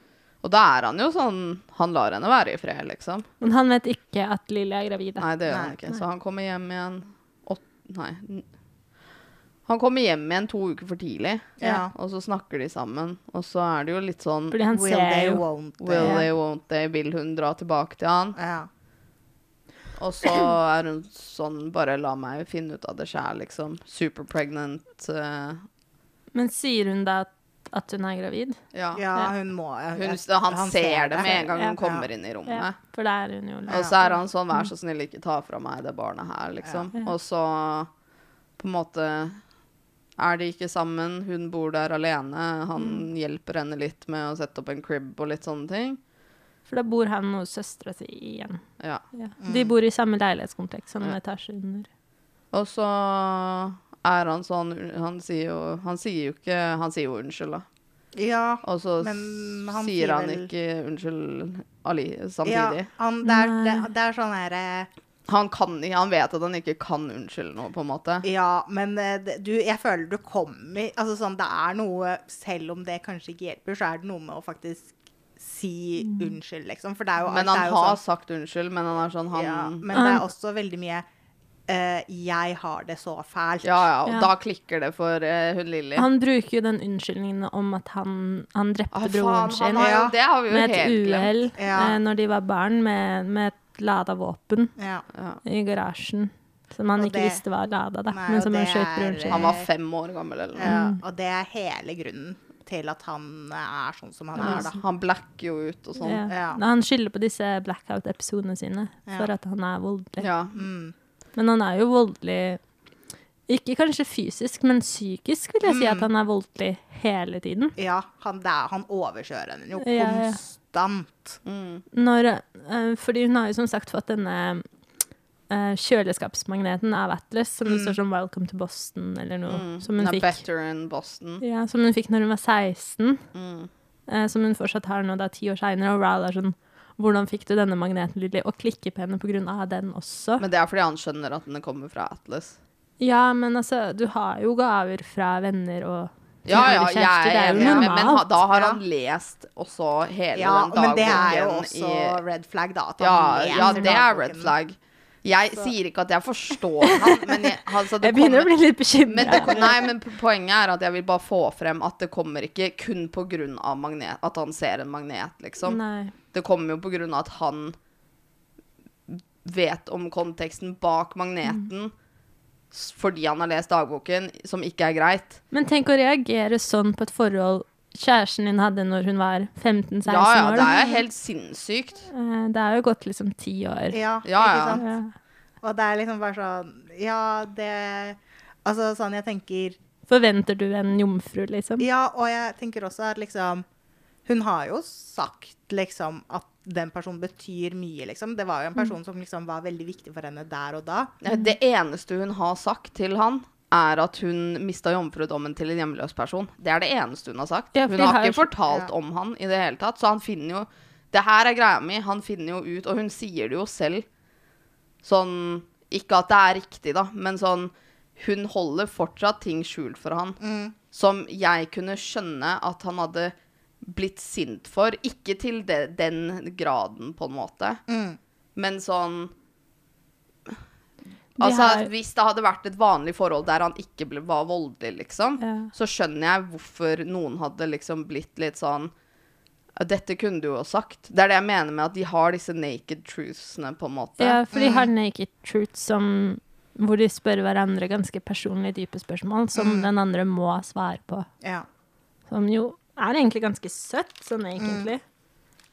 S1: Og da er han jo sånn Han lar henne være i fred, liksom.
S3: Men han vet ikke at Lilly er gravid. da.
S1: Nei, det gjør
S2: Nei.
S1: han ikke. Så han kommer hjem igjen åt, Nei. n- Han kommer hjem igjen to uker for tidlig,
S2: Ja.
S1: og så snakker de sammen. Og så er det jo litt sånn
S3: Fordi han
S2: Will
S3: ser
S2: they,
S3: jo
S2: won't they?
S1: Will they, won't they? Vil hun dra tilbake til han?
S2: Ja.
S1: Og så er hun sånn Bare la meg finne ut av det sjæl, liksom. Superpregnant. eh,
S3: Men sier hun da at, at hun er gravid?
S1: ja.
S2: ja,
S3: Ja.
S2: hun må eh,
S1: Hun, han, ser det med en gang
S3: Ja.
S1: hun kommer inn i
S3: Ja,
S1: rommet.
S3: for det er hun jo.
S1: Og så er han sånn Vær så snill, ikke ta fra meg det barnet her, liksom.
S3: Ja.
S1: Og så på en måte er de ikke sammen, hun bor der alene, han
S2: Mm.
S1: hjelper henne litt med å sette opp en crib og litt sånne ting.
S3: For da bor han hos søstera si igjen.
S1: Ja.
S3: Ja. De
S1: Mm.
S3: bor i samme leilighetskompleks, sånn en etasje under.
S1: Og så er han sånn Han sier jo, han sier jo ikke Han sier jo unnskyld, da.
S2: Ja.
S1: Og så
S2: Men han
S1: sier
S2: sier
S1: han
S2: vel-
S1: ikke unnskyld ali, samtidig.
S2: Ja, han, det, er, det,
S3: Nei.
S2: det er sånn her eh,
S1: Han, kan, ikke- han vet at han ikke kan unnskylde noe, på en måte.
S2: Ja, men eh, det- du, jeg føler du kommer Altså sånn, det er noe Selv om det kanskje ikke hjelper, så er det noe med å faktisk si
S3: Mm.
S2: unnskyld, liksom. For det er jo
S1: Men
S2: alt
S1: han
S2: er jo
S1: har
S2: sånn,
S1: sagt unnskyld, men han er sånn han
S2: ja,
S1: Ja,
S2: Men det er også veldig mye eh, 'Jeg har det så fælt'.
S1: ja, og
S3: Ja.
S1: da klikker det for eh, hun Lilly.
S3: Han bruker jo den unnskyldningen om at han, han drepte
S1: Ah,
S3: broren
S1: faen,
S3: sin
S1: han har jo,
S2: Ja.
S1: det har vi jo
S3: med et
S1: helt glemt.
S3: uhell
S2: Ja.
S3: eh, når de var barn, med, med et lada våpen
S2: Ja.
S1: Ja.
S3: i garasjen. Som han
S2: Og
S3: ikke
S2: det-
S3: visste var lada, da,
S2: Nei,
S3: men
S2: og
S3: som han
S2: det
S3: skjøt
S2: er-
S3: broren sin.
S1: Han var fem år gammel eller noe.
S2: ja. Og det er hele grunnen til at han er sånn som han er, da.
S1: Han blacker jo ut og sånn.
S3: altså. Ja.
S1: Ja.
S2: Ja.
S3: Nei, Han skylder på disse blackout-episodene sine
S2: Ja.
S3: for at han er voldelig.
S2: Mm,
S3: Men han er jo voldelig Ikke kanskje fysisk, men psykisk vil jeg si
S2: Mm.
S3: at han er voldelig hele tiden.
S2: Ja, han, det er, han overkjører henne jo
S3: Ja, ja.
S2: konstant.
S1: Mm.
S3: Når, eh, fordi hun har jo som sagt fått denne eh, kjøleskapsmagneten av Atlas, som
S2: Mm.
S3: det står som 'Welcome to Boston' eller noe.
S1: Mm.
S3: Som, hun
S1: er
S3: fikk,
S1: better in Boston.
S3: ja, som hun fikk når hun var 16,
S1: Mm.
S3: eh, som hun fortsatt har nå da ti år seinere, og Raoul er sånn 'Hvordan fikk du denne magneten, Lilly?' og klikke på henne pga. den også.
S1: Men det er fordi han skjønner at den kommer fra Atlas.
S3: ja, men altså, du har jo gaver fra venner og
S1: Ja, ja,
S3: tidligere
S1: jeg
S3: kjærester, Det er
S1: er enig,
S3: jo
S1: men, men ha-
S3: normalt.
S1: da har
S2: Ja.
S1: han lest også hele
S2: Ja,
S1: den
S2: men
S1: dagboken
S2: det er jo også sånn
S1: i
S2: red flag, da. At han
S1: ja,
S2: leser
S1: ja, det er
S2: dagboken.
S1: red flag. Jeg sier ikke at jeg forstår han, men jeg, altså, det
S3: Jeg begynner å bli
S1: kommer-
S3: litt
S1: men det,
S3: bekymra.
S1: kom- nei, men po- poenget er at jeg vil bare få frem at det kommer ikke kun på grunn av magnet, at han ser en magnet, liksom.
S3: Nei.
S1: Det kommer jo på grunn av at han vet om konteksten bak magneten s- fordi han har lest dagboken, som ikke er greit.
S3: Men tenk å reagere sånn på et forhold kjæresten din hadde når hun var 15-16
S1: Ja, ja,
S3: år.
S1: det
S3: da.
S1: er helt sinnssykt.
S3: Eh, Det er jo gått liksom ti år.
S2: Ja,
S1: Ja,
S2: ikke
S1: ja.
S2: sant?
S3: Ja.
S2: Og det er liksom bare sånn Ja, det Altså sånn jeg tenker
S3: Forventer du en jomfru, liksom?
S2: Ja, og jeg tenker også at liksom Hun har jo sagt liksom at den personen betyr mye, liksom. Det var jo en
S1: Mm.
S2: person som liksom var veldig viktig for henne der og da.
S1: Ja, Eh, Det eneste hun har sagt til han, er at hun mista jomfrudommen til en hjemløs person. Det er det eneste hun har sagt.
S3: Ja, for
S1: hun
S3: de
S1: har
S3: har jo
S1: ikke
S3: så-
S1: fortalt
S2: ja.
S1: om han i det hele tatt. Så han finner jo Det her er greia mi. Han finner jo ut, og hun sier det jo selv. Sånn Ikke at det er riktig, da, men sånn Hun holder fortsatt ting skjult for han. Som jeg kunne skjønne at han hadde blitt sint for. Ikke til det, den graden, på en måte.
S2: Mm.
S1: Men sånn
S3: De
S1: Altså,
S3: har-
S1: Hvis det hadde vært et vanlig forhold der han ikke ble, var voldelig, liksom,
S3: Ja.
S1: så skjønner jeg hvorfor noen hadde liksom blitt litt sånn «Ja, Dette kunne du jo sagt. Det er det jeg mener med at de har disse naked truthsene, på en måte.
S3: Ja, for de har Naked Truth som hvor de spør hverandre ganske personlige, dype spørsmål som
S1: Mm.
S3: den andre må svare på.
S2: Ja.
S3: Som jo er egentlig ganske søtt, sånn
S1: Mm.
S3: egentlig.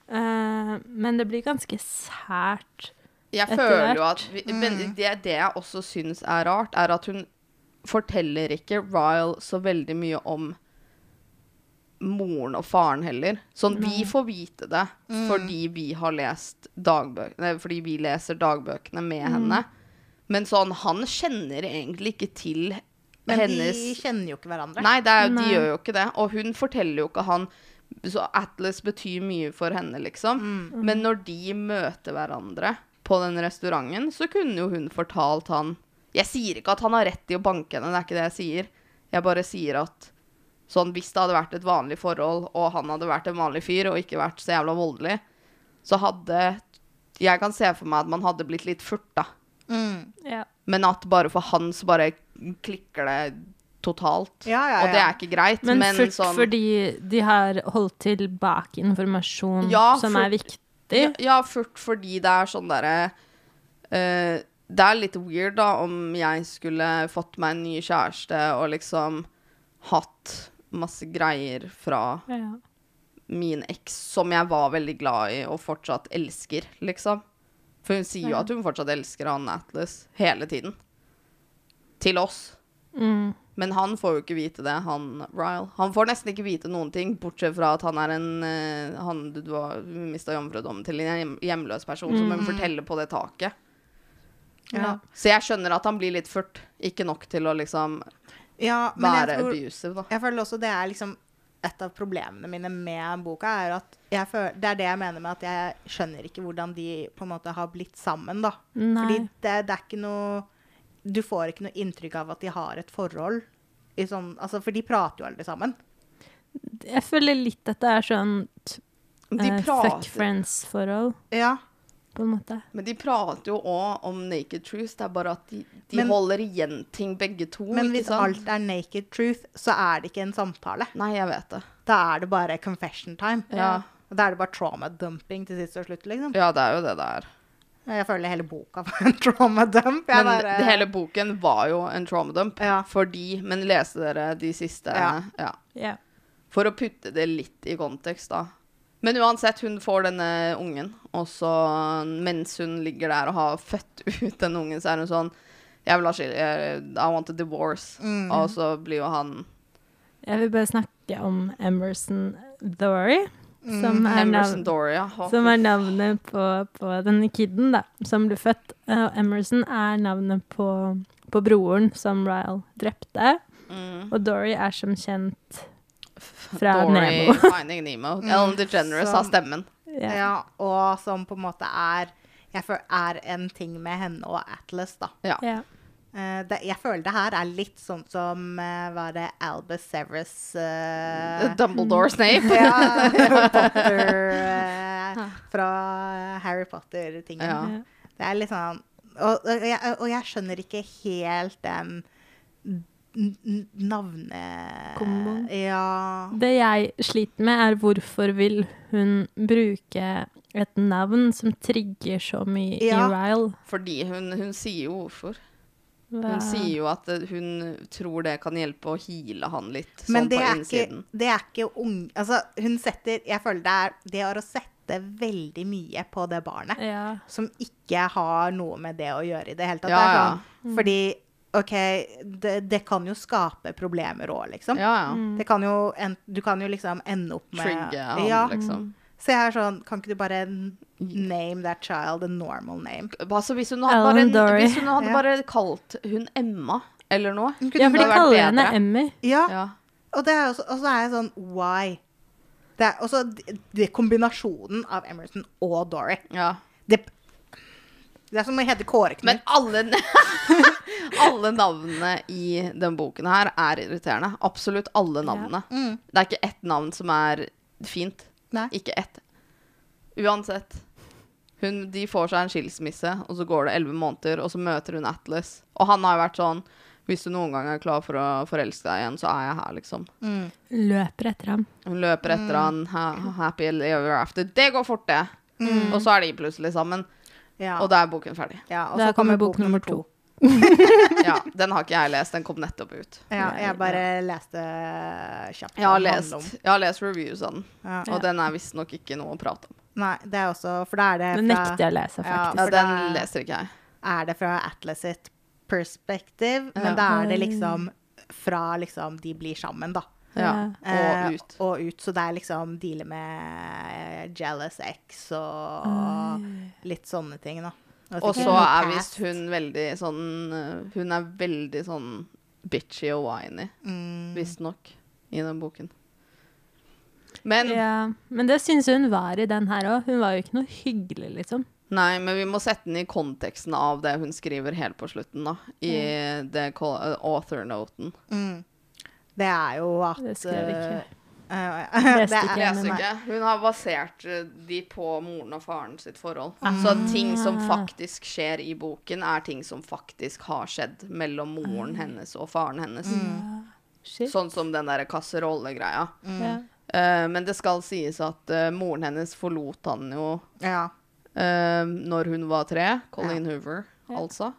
S3: Eh, men det blir ganske sært.
S1: Jeg
S3: Etter
S1: føler
S3: hvert. Mm.
S1: jo at vi, men det, det jeg også syns er rart, er at hun forteller ikke Ryle så veldig mye om moren og faren heller. Sånn, vi får vite det fordi
S3: Mm.
S1: vi har lest dagbøkene, fordi vi leser dagbøkene med
S3: Mm.
S1: henne. Men sånn, han kjenner egentlig ikke til
S2: Men
S1: hennes
S2: de kjenner jo ikke hverandre.
S1: Nei, det er,
S3: Nei.
S1: de gjør jo ikke det. Og hun forteller jo ikke han Så Atlas betyr mye for henne, liksom. Men når de møter hverandre på den restauranten, så kunne jo hun fortalt han Jeg sier ikke at han har rett i å banke henne, det er ikke det jeg sier. Jeg bare sier at sånn, hvis det hadde vært et vanlig forhold, og han hadde vært en vanlig fyr og ikke vært så jævla voldelig, så hadde Jeg kan se for meg at man hadde blitt litt furta.
S2: Mm.
S3: Ja.
S1: Men at bare for han så bare klikker det totalt.
S2: Ja, ja,
S1: Og det
S2: ja.
S1: er ikke greit,
S3: Men,
S1: men,
S3: furt
S1: sånn
S3: fordi de har holdt tilbake informasjon
S1: Ja,
S3: som
S1: furt-
S3: er viktig.
S1: Ja, ja, furt fordi det er sånn derre eh, Det er litt weird, da, om jeg skulle fått meg en ny kjæreste og liksom hatt masse greier fra
S3: Ja.
S1: min eks som jeg var veldig glad i og fortsatt elsker, liksom. For hun sier jo
S3: Ja.
S1: at hun fortsatt elsker han Atlas hele tiden. Til oss.
S3: Mm.
S1: Men han får jo ikke vite det, han Ryle. Han får nesten ikke vite noen ting, bortsett fra at han er en eh, Han du var- mista jomfrudommen til, en hjem- hjemløs person, som hun forteller på det taket.
S2: Mm. Ja.
S1: Så jeg skjønner at han blir litt furt. Ikke nok til å liksom
S2: ja, men
S1: være
S2: jeg tror
S1: abusive, da.
S2: Jeg føler også det er liksom et av problemene mine med boka, er at jeg føler, det er det jeg mener med at jeg skjønner ikke hvordan de på en måte har blitt sammen, da.
S3: Nei.
S2: Fordi det, det er ikke noe Du får ikke noe inntrykk av at de har et forhold. I sånn, altså, for de prater jo aldri sammen.
S3: Jeg føler litt at det er sånn
S1: De
S3: eh, fuck
S1: prater,
S3: friends-forhold,
S2: Ja.
S3: på en måte.
S1: men de prater jo òg om naked truth. Det er bare at de, de
S2: Men-
S1: holder igjen ting, begge to.
S2: Men
S1: ikke
S2: hvis
S1: sant?
S2: alt er naked truth, så er det ikke en samtale.
S1: Nei, jeg vet det.
S2: Da er det bare confession time.
S1: Ja.
S2: Og Da er det bare trauma dumping til sist og slutt, liksom.
S1: Ja, det er jo det det er.
S2: Jeg føler hele boka var en trauma dump. Jeg
S1: Men
S2: bare-
S1: det- hele boken var jo en trauma dump.
S2: Ja.
S1: Fordi Men leste dere de siste
S2: Ja.
S1: ja.
S3: Ja.
S1: For å putte det litt i kontekst, da. Men uansett, hun får denne ungen, og så mens hun ligger der og har født ut den ungen, så er hun sånn Jeg vil ha skil... jeg- I want a divorce.
S2: Mm.
S1: Og så blir jo han
S3: Jeg vil bare snakke om Emerson Dory, som, er
S1: Emerson
S3: navn-
S1: Doria. Å,
S3: som
S1: fy
S3: er navnet på, på denne kiden da, som ble født. Eh, Og Emerson er navnet på, på broren som Ryle drepte.
S1: Mm.
S3: Og Dory er som kjent fra
S1: Dory
S3: Nemo.
S2: Mm.
S1: Finding Nemo. Ellen DeGeneres har
S2: Som-
S1: stemmen.
S3: Ja.
S2: Ja, og som på en måte er jeg føl- er en ting med henne og Atlas, da.
S1: Ja.
S3: Ja.
S2: Eh, det, jeg føler det her er litt sånn som eh, Hva er det Albus Severus eh,
S1: Dumbledore Snape.
S2: ja, Harry Potter eh, Fra eh, Harry Potter-tingen.
S1: Ja.
S3: Ja.
S2: Det er litt sånn og, og, jeg, og jeg skjønner ikke helt den n- n- navne...
S3: Komboen.
S2: Ja.
S3: Det jeg sliter med, er hvorfor vil hun bruke et navn som trigger så mye
S2: Ja.
S3: i Ryle?
S1: Fordi hun, hun sier jo hvorfor.
S3: Hva-
S1: Hun sier jo at eh, hun tror det kan hjelpe å heale han litt, sånn
S2: Men det
S1: på
S2: er, ikke,
S1: innsiden.
S2: det er ikke ung... Altså, hun setter Jeg føler det er Det er å sette veldig mye på det barnet
S3: ja.
S2: som ikke har noe med det å gjøre i det hele tatt.
S1: Ja,
S2: det er
S1: ja.
S2: sånn, Fordi OK, det, det kan jo skape problemer òg, liksom.
S1: Ja, ja.
S3: Mm.
S2: Det kan jo en, du kan jo liksom ende opp med
S1: Trigge han,
S2: ja.
S1: liksom.
S2: Så jeg er sånn, kan ikke du bare n- name that child a normal name?
S1: Altså, hvis hun hadde,
S3: Ellen
S1: bare,
S3: Dory.
S1: hvis hun hadde
S2: Ja.
S1: bare kalt hun Emma eller noe
S2: Hun kunne
S3: ja, for de
S2: bare vært-
S3: kaller henne
S1: bedre.
S3: Emmy.
S2: ja.
S1: ja.
S2: Og, det er også, og så er jeg sånn, why? Det er også d- det kombinasjonen av Emerson og Dory.
S1: ja.
S2: Det, det er som å hete Kåre
S1: Men
S2: Knut.
S1: alle, alle navnene i den boken her er irriterende. Absolutt alle navnene.
S2: Mm.
S1: Det er ikke ett navn som er fint.
S2: Nei.
S1: Ikke ett. Uansett. Hun, de får seg en skilsmisse, og så går det elleve måneder, og så møter hun Atlas. Og han har jo vært sånn Hvis du noen gang er klar for å forelske deg igjen, så er jeg her, liksom.
S2: Mm.
S3: Løper etter ham.
S1: Hun løper etter han, ha, happy ever after. Det går fort, det! Og så er de plutselig sammen,
S2: Mm. Ja.
S1: og da er boken ferdig.
S2: ja, og
S3: Der
S2: så kommer
S3: kommer bok nummer to.
S1: Ja, Den har ikke jeg lest, den kom nettopp ut.
S2: Ja, jeg bare leste kjapt.
S1: Jeg har
S2: hva den handler
S1: lest,
S2: om.
S1: jeg har lest reviews av den,
S2: Ja.
S1: og den er visstnok ikke noe å prate om.
S2: Nei, det er også For da er det
S3: Den nekter jeg å lese,
S2: Ja,
S3: faktisk.
S1: Ja,
S2: for
S1: den
S2: det-
S1: leser ikke jeg.
S2: er det fra Atlas sitt perspektiv,
S1: Ja.
S2: men da er det liksom fra liksom de blir sammen, da.
S1: Ja,
S2: Eh,
S1: og ut.
S2: og ut. Så det er liksom deale med eh, jealous ex og litt sånne ting, da.
S1: Og
S2: sikkert
S1: så
S2: noe
S1: er
S2: past.
S1: visst hun veldig sånn øh, Hun er veldig sånn bitchy og whiny,
S2: mm,
S1: visstnok, i den boken. Men
S3: Ja, men det syns hun var i den her òg. Hun var jo ikke noe hyggelig, liksom.
S1: Nei, men vi må sette den i konteksten av det hun skriver helt på slutten, da. I det ko- øh, author-noten.
S2: mm. Det er jo at
S3: Det skrev jeg ikke.
S2: eh,
S3: Leste
S2: det
S3: ikke
S2: er,
S3: jeg.
S1: Leser
S3: men nei.
S1: ikke. Hun har basert øh, de på moren og faren sitt forhold. Så ting som faktisk skjer i boken, er ting som faktisk har skjedd mellom moren hennes og faren hennes.
S3: Mm. Shit.
S1: Sånn som den derre
S3: Ja.
S1: kasserollegreia.
S2: mm,
S1: Eh, men det skal sies at eh, moren hennes forlot han jo
S2: ja.
S1: eh, når hun var tre. Colleen Hoover,
S3: Ja.
S1: altså.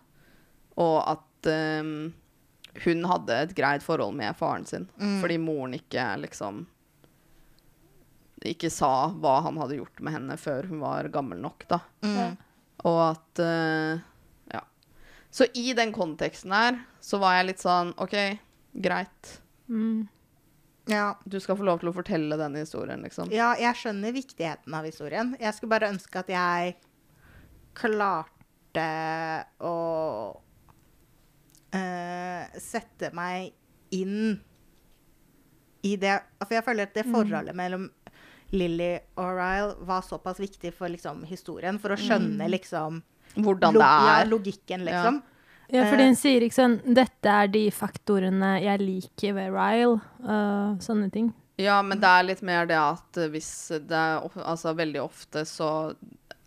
S1: Og at eh, hun hadde et greit forhold med faren sin. Fordi moren ikke liksom Ikke sa hva han hadde gjort med henne før hun var gammel nok, da.
S2: Mm.
S1: Og at eh, Ja. Så i den konteksten her så var jeg litt sånn OK, greit.
S3: Mm.
S2: ja.
S1: Du skal få lov til å fortelle denne historien, liksom.
S2: Ja, jeg skjønner viktigheten av historien. Jeg skulle bare ønske at jeg klarte å eh, sette meg inn i det For jeg føler at
S3: Mm.
S2: det forholdet mellom Lilly og Ryle var såpass viktig for liksom, historien, for å skjønne liksom
S1: Hvordan
S2: log-
S1: det
S2: ja,
S1: er.
S2: logikken, liksom.
S3: Mm. Ja, fordi
S2: Eh.
S3: hun sier ikke sånn 'Dette er de faktorene jeg liker ved Ryle', og sånne ting.
S1: Ja, men det er litt mer det at eh, hvis det er of- Altså, veldig ofte så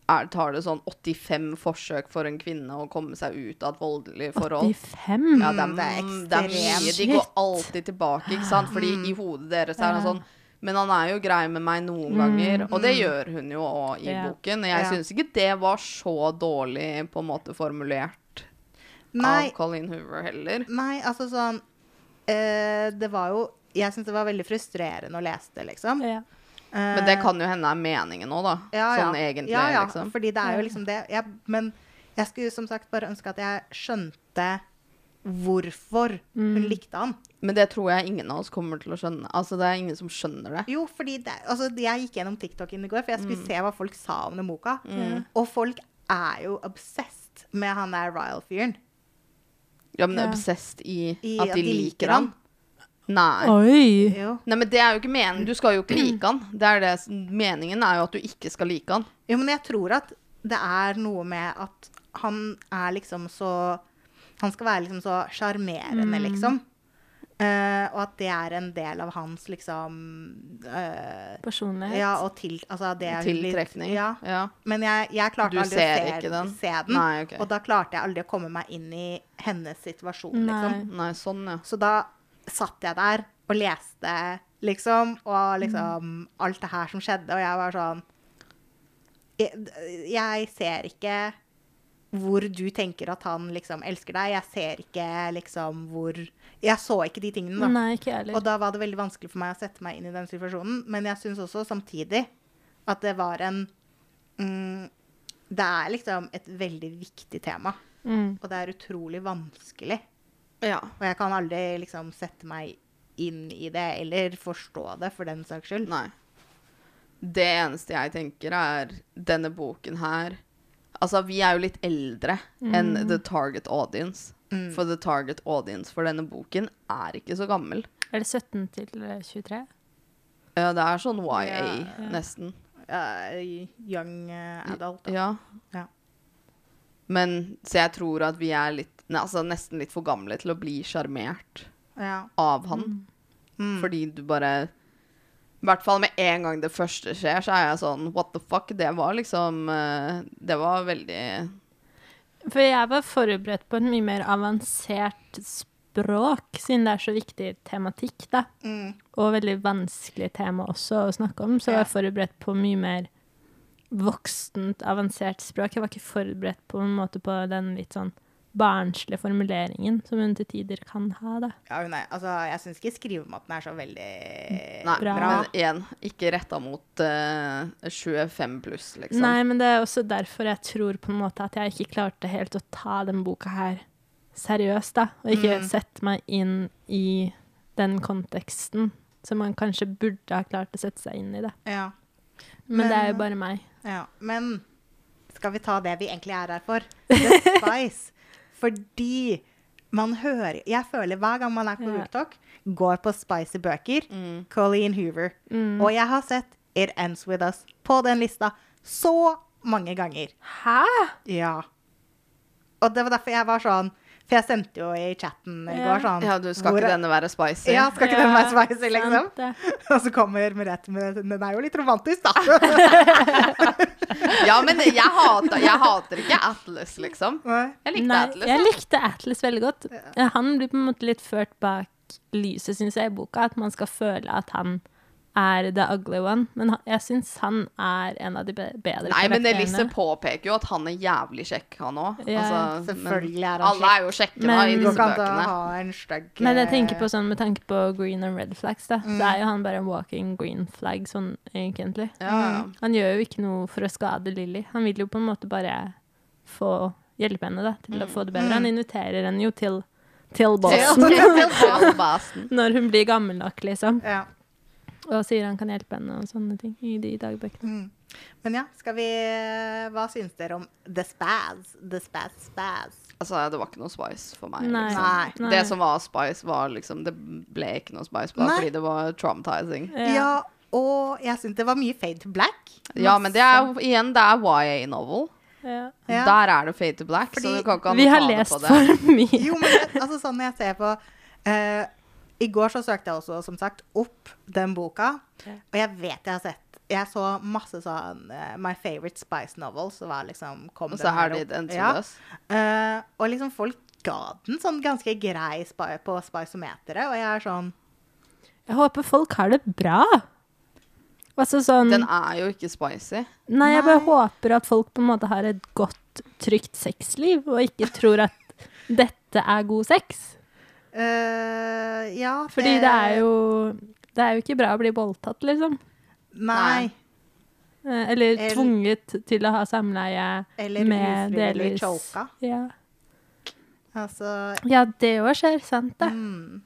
S1: er, tar det sånn 85 forsøk for en kvinne å komme seg ut av et voldelig forhold.
S3: 85?
S1: Ja, det er,
S2: Mm, det er
S1: mm, det er mye. De
S3: ekstremt.
S1: går alltid tilbake, ikke sant? Fordi i hodet deres er han sånn Men han er jo grei med meg noen ganger, og det gjør hun jo òg i
S3: Ja.
S1: boken. Jeg
S2: Mm, Ja.
S1: syns ikke det var så dårlig på en måte formulert
S2: Nei,
S1: av Colleen Hoover heller.
S2: Nei, altså sånn eh, Det var jo Jeg syns det var veldig frustrerende å lese det, liksom.
S3: Ja.
S1: Men det kan jo hende er meningen òg, da. Sånn egentlig,
S2: ja, ja,
S1: liksom.
S2: Fordi det er
S3: Ja.
S2: jo liksom det. Jeg, men jeg skulle som sagt bare ønske at jeg skjønte hvorfor
S1: Mm.
S2: hun likte han.
S1: Men det tror jeg ingen av oss kommer til å skjønne. Altså, det er ingen som skjønner det.
S2: Jo, fordi det, altså, jeg gikk gjennom TikTok-en i går, for jeg
S1: Mm.
S2: skulle se hva folk sa om den boka. Og folk er jo obsessed med han der Ryle-fyren.
S1: Ja, men
S3: Ja.
S1: obsessed i,
S2: I
S1: at de liker han. Nei.
S3: Oi!
S2: Jo.
S1: Nei, men det er jo ikke meningen. Du skal jo ikke like han. Det er det. som- Meningen er jo at du ikke skal like han.
S2: jo, men jeg tror at det er noe med at han er liksom så Han skal være liksom så
S1: Mm.
S2: sjarmerende, liksom. Eh, og at det er en del av hans liksom eh,
S3: Personlighet.
S2: Ja, og til, altså det er litt-
S1: Tiltrekning.
S2: Ja.
S1: ja.
S2: Men jeg, jeg klarte
S1: Du
S2: aldri
S1: ser
S2: å se,
S1: ikke den?
S2: se den.
S1: Nei, ok.
S2: Og da klarte jeg aldri å komme meg inn i hennes situasjon, liksom.
S3: Nei.
S1: Nei, sånn, ja.
S2: Så da satt jeg der og leste, liksom, og liksom alt det her som skjedde, og jeg var sånn jeg, jeg ser ikke hvor du tenker at han liksom elsker deg. Jeg ser ikke liksom hvor Jeg så ikke de tingene, da.
S3: Nei, ikke jeg
S2: Og
S3: heller.
S2: da var det veldig vanskelig for meg å sette meg inn i den situasjonen. Men jeg syns også samtidig at det var en mm, Det er liksom et veldig viktig tema.
S3: Mm.
S2: Og det er utrolig vanskelig.
S1: ja.
S2: Og jeg kan aldri liksom sette meg inn i det, eller forstå det, for den saks skyld.
S1: Nei. Det eneste jeg tenker, er denne boken her Altså, vi er jo litt eldre enn the target audience. For the target audience for denne boken er ikke så gammel.
S3: Er det 17 til eh, 23?
S1: Ja, det er sånn YA,
S2: Ja.
S1: nesten.
S2: Eh, young eh, adult. Da.
S1: Ja.
S2: Ja.
S1: Men så jeg tror at vi er litt ne, Altså nesten litt for gamle til å bli sjarmert
S2: Ja.
S1: av han.
S2: Mm.
S1: Fordi du bare I hvert fall med en gang det første skjer, så er jeg sånn What the fuck? Det var liksom eh, Det var veldig
S3: For jeg var forberedt på et mye mer avansert språk, siden det er så viktig tematikk, da.
S2: Mm.
S3: Og veldig vanskelig tema også å snakke om. Så jeg var forberedt på mye mer voksent, avansert språk. Jeg var ikke forberedt på en måte på den litt sånn barnslige formuleringen som hun til tider kan ha, da.
S2: ja hun er, altså, jeg syns ikke skrivemåten er så veldig
S1: Nei,
S3: Bra.
S1: men igjen, ikke retta mot eh, 25 pluss, liksom.
S3: Nei, men det er også derfor jeg tror på en måte at jeg ikke klarte helt å ta den boka her seriøst, da. Og ikke sette meg inn i den konteksten som man kanskje burde ha klart å sette seg inn i, da.
S2: Ja,
S3: Men, det er
S2: Men-
S3: jo bare meg.
S2: ja. Men skal vi ta det vi egentlig er her for? The Spice. Fordi man hører Jeg føler hver gang man er på
S3: Ja.
S2: Booktalk, går på Spicy bøker,
S1: Mm.
S2: Colleen Hoover.
S3: Mm.
S2: Og jeg har sett It Ends With Us på den lista så mange ganger.
S3: Hæ?
S2: Ja. Og det var derfor jeg var sånn For jeg sendte jo i chatten i
S3: Ja.
S2: går sånn
S1: Ja, du skal
S2: hvor-
S1: ikke denne være spicy?
S2: Ja, skal ikke den være spicy, liksom?
S3: Sant, det.
S2: Og så kommer Merete med Den er jo litt romantisk, da.
S1: Ja, men jeg hater, jeg hater ikke Atlas, liksom.
S2: Nei.
S1: Jeg likte
S3: Nei,
S1: Atlas.
S3: jeg
S1: ja.
S3: likte Atlas veldig godt. Ja, Han blir på en måte litt ført bak lyset, syns jeg, i boka. At man skal føle at han er the ugly one. Men han- jeg syns han er en av de be- bedre
S1: Nei, men
S3: karakterene.
S1: Elise påpeker jo at han er jævlig kjekk, han òg.
S3: Ja,
S2: selvfølgelig er han
S1: Alle er jo kjekke da,
S3: Men-
S1: i
S2: Det går
S1: disse
S2: ikke an å
S1: bøkene.
S2: ha en stygg
S3: Men jeg tenker på sånn med tanke på green and red flags, da. Så
S1: Mm.
S3: er jo han bare en walking green flag, sånn egentlig.
S1: Ja,
S2: Mm.
S1: ja.
S3: Han gjør jo ikke noe for å skade Lilly. Han vil jo på en måte bare få hjelpe henne da,
S1: Mm.
S3: til å få det bedre. Han inviterer henne jo til, til bossen
S1: Til basen.
S3: når hun blir gammel nok, liksom.
S2: eh, ja.
S3: Og sier han kan hjelpe henne og sånne ting i de dagbøkene.
S2: Mm. Men ja, skal vi eh, Hva syns dere om The Spaz? The Spaz Spaz.
S1: Altså, det var ikke noe spice for meg.
S3: Nei.
S2: Nei.
S1: Liksom. Det som var spice, var liksom Det ble ikke noe spice på det,
S2: Nei.
S1: fordi det var traumatizing.
S2: Ja. og jeg syns det var mye fade to black.
S1: Ja, men det er jo igjen det er YA novel.
S3: Ja.
S2: Ja.
S1: Der er det fade to black,
S2: Fordi
S1: så du kan ikke
S3: Vi har
S1: anbefale
S3: lest
S1: på det.
S3: for mye.
S2: Jo, men jeg, altså sånn når jeg ser på eh, I går så søkte jeg også, som sagt, opp den boka.
S3: Ja.
S2: Og jeg vet jeg har sett Jeg så masse sånn eh, My Favorite Spice Novels. Så var liksom, kom
S1: Og
S2: den
S1: så
S2: her
S1: er det
S2: opp.
S1: en
S2: Ja. Mm.
S1: løs.
S2: Eh, og liksom folk ga den sånn ganske grei spi på spiceometeret, og jeg er sånn
S3: Jeg håper folk har det bra. Altså sånn
S1: Den er jo ikke spicy.
S3: Nei, jeg bare
S2: Nei.
S3: håper at folk på en måte har et godt, trygt sexliv, og ikke tror at dette er god sex.
S2: eh, Ja,
S3: Fordi det er jo Det er jo ikke bra å bli voldtatt, liksom.
S2: Nei.
S1: Nei.
S3: Eh, Eller
S2: Eller-
S3: tvunget til å ha samleie
S2: Eller
S3: med
S2: ufrivillig
S3: delvis
S2: choka.
S3: Ja.
S2: Altså
S3: ja, det òg skjer, sant det.
S2: mm.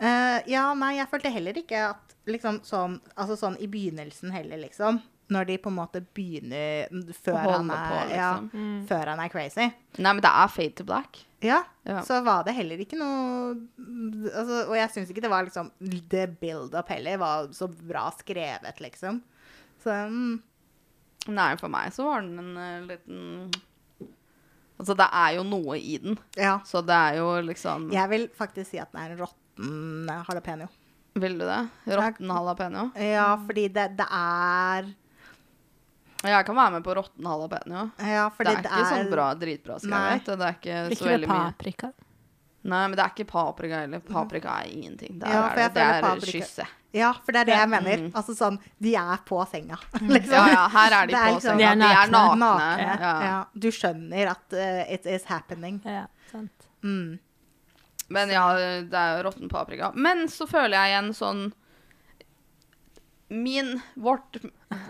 S2: Eh, Ja, nei, jeg følte heller ikke at liksom sånn Altså sånn i begynnelsen heller, liksom. når de på en måte begynner før
S1: holde
S2: han er,
S1: på, liksom.
S2: ja, før han er crazy.
S1: Nei, men det er fade to black.
S2: Ja,
S1: Ja.
S2: så var det heller ikke noe altså, Og jeg syns ikke det var liksom The build-up heller var så bra skrevet, liksom. Så mm,
S1: Nei, for meg så var den en eh, liten Altså, det er jo noe i den.
S2: ja.
S1: Så det er jo liksom
S2: Jeg vil faktisk si at den er en eh, råtten jalapeño.
S1: Vil du det? Råtten jalapeño?
S2: Ja, fordi det, det er
S1: Jeg kan være med på råtten jalapeño.
S2: Ja,
S1: Det
S2: fordi
S1: er ikke sånn bra, dritbra
S2: Nei.
S1: skrevet. og Det er ikke så
S3: Ikke det
S1: veldig mye.
S3: paprika?
S1: Nei, men det er ikke paprika heller. Paprika er ingenting. Der
S2: Ja, for
S1: er
S2: jeg
S1: det, det
S2: føler
S1: er
S2: paprika-
S1: kysse.
S2: Ja, for det er det jeg mener.
S1: Mm.
S2: Altså sånn De er på senga, liksom.
S1: Ja, ja, her er de
S2: Det er
S1: på
S2: liksom-
S1: senga.
S3: De er
S1: De er
S3: nakne.
S1: nakne.
S2: Nakne. Ja.
S1: Ja.
S2: Du skjønner at eh, it is happening.
S3: Ja, sant.
S2: Mm.
S1: Men ja, det er jo råtten paprika. Men så føler jeg igjen sånn Min Vårt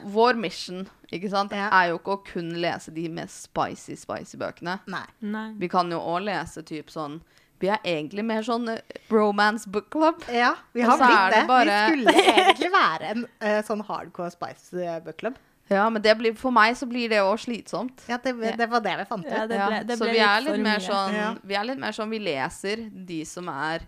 S1: Vår mission, ikke sant,
S2: Ja.
S1: er jo ikke å kun lese de mest spicy, spicy bøkene.
S2: Nei.
S3: Nei.
S1: Vi kan jo òg lese typ sånn Vi er egentlig mer sånn eh, romance book club.
S2: Ja, vi
S1: Og
S2: har
S1: så er
S2: blitt
S1: det
S2: det.
S1: bare-
S2: Vi skulle egentlig være en eh, sånn hardcore Spice eh, Book Club.
S1: Ja, men det blir, for meg så blir det òg slitsomt.
S2: Ja, det,
S3: Ja.
S2: det var det vi fant ut.
S3: Ja, det ble, det
S1: så
S3: ble
S1: vi er
S3: litt
S1: litt
S3: for
S1: mer
S3: mye.
S1: sånn
S2: Ja.
S1: Vi er litt mer sånn Vi leser de som er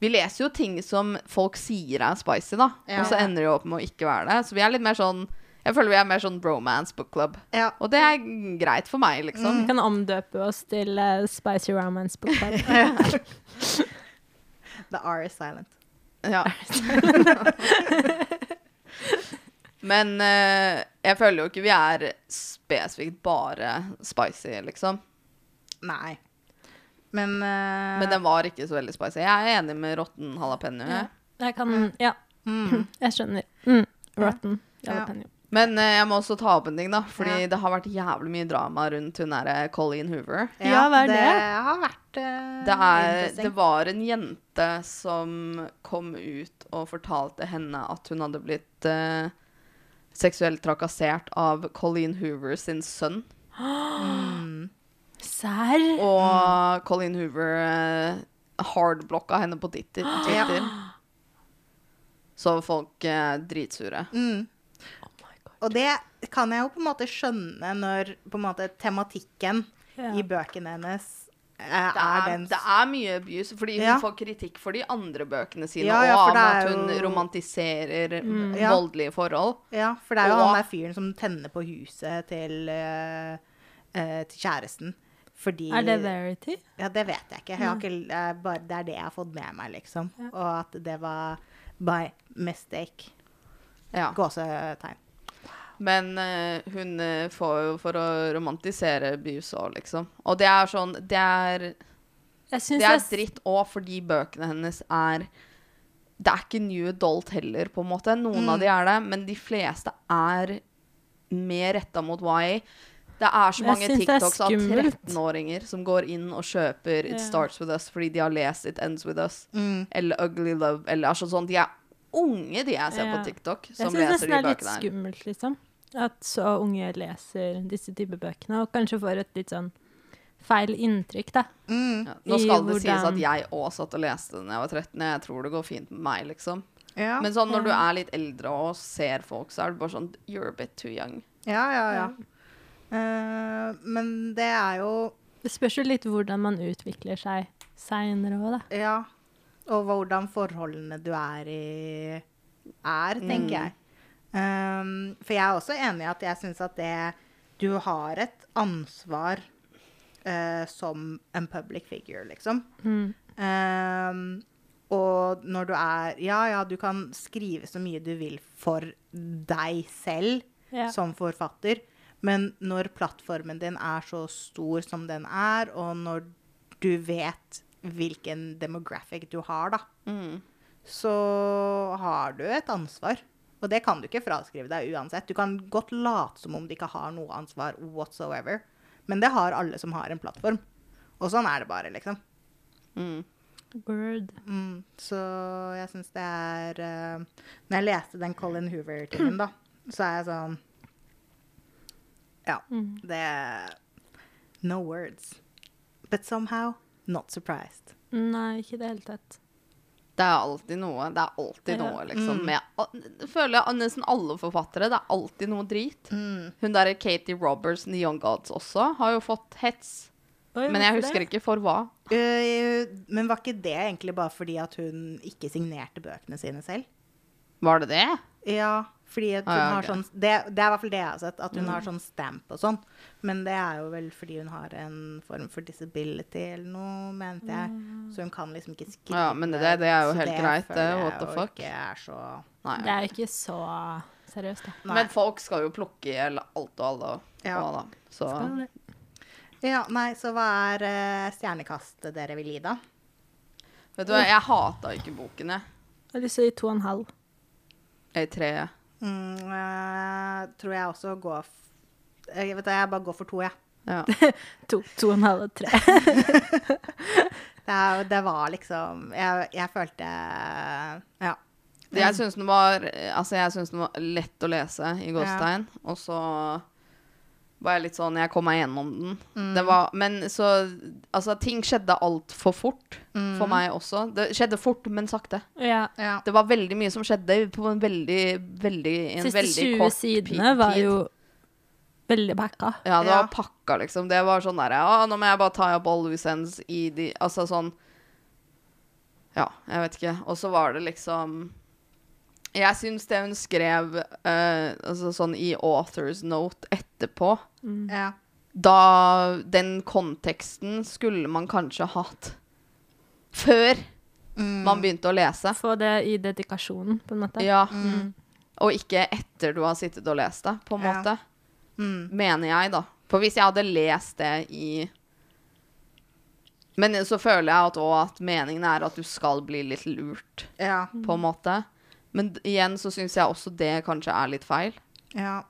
S1: Vi leser jo ting som folk sier er spicy, da.
S2: Ja.
S1: Og så ender det jo opp med å ikke være det. Så vi er litt mer sånn Jeg føler vi er mer sånn bromance book club.
S2: Ja. Mm.
S1: Og det er greit for meg, liksom.
S3: Vi kan omdøpe oss til eh, Spicy Romance Book Club.
S2: The R is silent.
S1: Ja. Men eh, jeg føler jo ikke vi er spesifikt bare spicy, liksom.
S2: Nei. Men, eh,
S1: Men den var ikke så veldig spicy. Jeg er enig med Rotten Jalapeño. jeg.
S3: Ja. Jeg kan Ja,
S2: mm,
S3: jeg skjønner. Mm. Rotten.
S2: Ja.
S3: Jalapeno.
S1: Men eh, jeg må også ta opp en ting, da. Fordi
S2: Ja.
S1: det har vært jævlig mye drama rundt hun derre Colleen Hoover.
S2: ja,
S3: Ja, hva er
S2: det
S3: det?
S2: har vært eh,
S1: Det, er,
S2: interesting.
S1: det var en jente som kom ut og fortalte henne at hun hadde blitt eh, seksuelt trakassert av Colleen Hoover sin sønn.
S2: Mm.
S3: Serr?
S1: Og Colleen Hoover eh, hardblokka henne på Titter- Twitter. Så folk er dritsure.
S2: Mm.
S3: Oh my god.
S2: Og det kan jeg jo på en måte skjønne når på en måte, tematikken
S3: Ja.
S2: i bøkene hennes eh, er,
S1: det er,
S2: den
S1: det er mye abuse, fordi hun
S2: Ja.
S1: får kritikk for de andre bøkene sine
S2: Ja, ja,
S1: og
S2: for
S1: av at
S2: det er
S1: hun
S2: jo- Mm.
S1: romantiserer
S2: Ja.
S1: voldelige forhold.
S2: Ja, for det er jo han
S1: Og-
S2: der fyren som tenner på huset til, eh, eh, til kjæresten. Fordi
S3: Er det Verity?
S2: Ja, det vet jeg ikke. Jeg har ikke eh, bare, det er det jeg har fått med meg, liksom. Og at det var by mistake.
S1: Ja.
S2: Gåsetegn.
S1: Men eh, hun eh, får jo for å romantisere abuse òg, liksom. Og det er sånn Det er,
S3: Jeg syns
S1: det er
S3: jeg-
S1: dritt òg, fordi bøkene hennes er Det er ikke new adult heller, på en måte. Noen
S3: Mm.
S1: av de er det, men de fleste er mer retta mot YA. Det er så
S3: Jeg
S1: mange
S3: synes det er
S1: TikToks av
S3: skummelt.
S1: 13-åringer som går inn og kjøper It
S3: Ja.
S1: Starts With Us fordi de har lest It Ends With Us
S2: Mm.
S1: eller Ugly Love eller altså sånn. De er unge, de jeg ser
S3: Ja.
S1: på TikTok,
S3: Jeg
S1: som
S3: syns
S1: leser
S3: nesten det
S1: de
S3: er litt
S1: bøkene her.
S3: skummelt, liksom. At så unge leser disse type bøkene, og kanskje får et litt sånn feil inntrykk, da.
S2: Mm.
S1: Ja. Nå
S3: i
S1: skal det sies
S3: hvordan-
S1: at jeg òg satt og leste den da jeg var 13. Jeg tror det går fint med meg, liksom.
S2: Ja.
S1: Men sånn når du er litt eldre og ser folk, så er det bare sånn You're a bit too young.
S2: ja, ja, ja. Eh, men det er jo
S3: Det spørs jo litt hvordan man utvikler seg seinere òg, da.
S2: Ja. Og hvordan forholdene du er i, er, tenker jeg. Um, for jeg er også enig i at jeg syns at det Du har et ansvar eh, som en public figure, liksom.
S3: Mm.
S2: Um, og når du er Ja, ja, du kan skrive så mye du vil for deg selv
S3: Ja.
S2: som forfatter, men når plattformen din er så stor som den er, og når du vet hvilken demographic du har, da,
S1: Mm.
S2: så har du et ansvar. Og det kan du ikke fraskrive deg uansett. Du kan godt late som om du ikke har noe ansvar whatsoever, men det har alle som har en plattform. Og sånn er det bare, liksom.
S1: Mm.
S3: Word.
S2: Mm, så jeg syns det er eh, Når jeg leste den Colin Hoover-tingen, da, så er jeg sånn Ja.
S3: Mm.
S2: Det No words. But somehow not surprised.
S3: Nei, ikke i det hele tatt.
S1: Det er alltid noe. Det er alltid
S3: Ja.
S1: noe, liksom. Med, al- føler jeg nesten alle forfattere. Det er alltid noe drit.
S2: Mm.
S1: Hun derre Katie Roberts i Young Gods også har jo fått hets.
S3: Oi,
S1: Men jeg
S3: hvorfor
S1: husker
S3: det?
S1: ikke for hva.
S2: Øh, men var ikke det egentlig bare fordi at hun ikke signerte bøkene sine selv?
S1: Var det det?
S2: Ja, fordi at hun
S1: Ah, ja,
S2: har
S1: ok.
S2: sånn det, det er i hvert fall det jeg har sett, at hun har sånn stamp og sånn. Men det er jo vel fordi hun har en form for disability eller noe, mente jeg. Så hun kan liksom ikke skrive.
S1: Ja, men det- det er jo
S2: så
S1: helt greit,
S2: føler
S1: det,
S2: jeg
S1: what the
S2: jo
S1: fuck.
S2: Ikke er så
S1: Nei.
S3: Det er jo ikke så seriøst, da.
S2: Nei.
S1: Men folk skal jo plukke i hjel alt og alle. og-
S2: Ja.
S1: og alle. Så
S3: Skal det?
S2: ja, nei, så hva er eh, stjernekastet dere vil gi, da?
S1: vet du hva, jeg hata ikke boken, jeg.
S3: Jeg har lyst til å gi to og en halv.
S1: Jeg treet.
S2: Mm, eh, tror jeg også går f jeg, vet du, jeg bare går for to, jeg.
S1: Ja.
S3: To, to og en halv og tre.
S2: Det, er, jo- det var liksom Jeg, jeg følte Ja.
S1: Det Jeg syns den var Altså jeg synes den var lett å lese i Gåstein. Og så var jeg litt sånn Jeg kom meg gjennom den.
S3: Mm.
S1: Det var, men så Altså, ting skjedde altfor fort
S3: Mm.
S1: for meg også. Det skjedde fort, men sakte.
S3: Ja.
S2: ja.
S1: Det var veldig mye som skjedde på en veldig, veldig en
S3: Siste
S1: veldig
S3: 20
S1: kort
S3: sidene var
S1: tid.
S3: jo veldig packa.
S1: Ja, det
S2: Ja.
S1: var pakka, liksom. Det var sånn derre Å, nå må jeg bare ta opp all loose ends i de Altså sånn Ja, jeg vet ikke. Og så var det liksom Jeg syns det hun skrev eh, altså sånn i author's note etterpå
S2: ja.
S1: Da Den konteksten skulle man kanskje hatt før
S2: Mm.
S1: man begynte å lese.
S3: Få det i dedikasjonen, på en måte.
S1: Ja.
S3: Mm.
S1: Og ikke etter du har sittet og lest det, på en
S2: Ja.
S1: måte.
S2: Mm.
S1: mener jeg, da. For hvis jeg hadde lest det i Men så føler jeg at, også at meningen er at du skal bli litt lurt,
S2: Ja.
S1: på en måte. Men d- igjen så syns jeg også det kanskje er litt feil.
S2: Ja.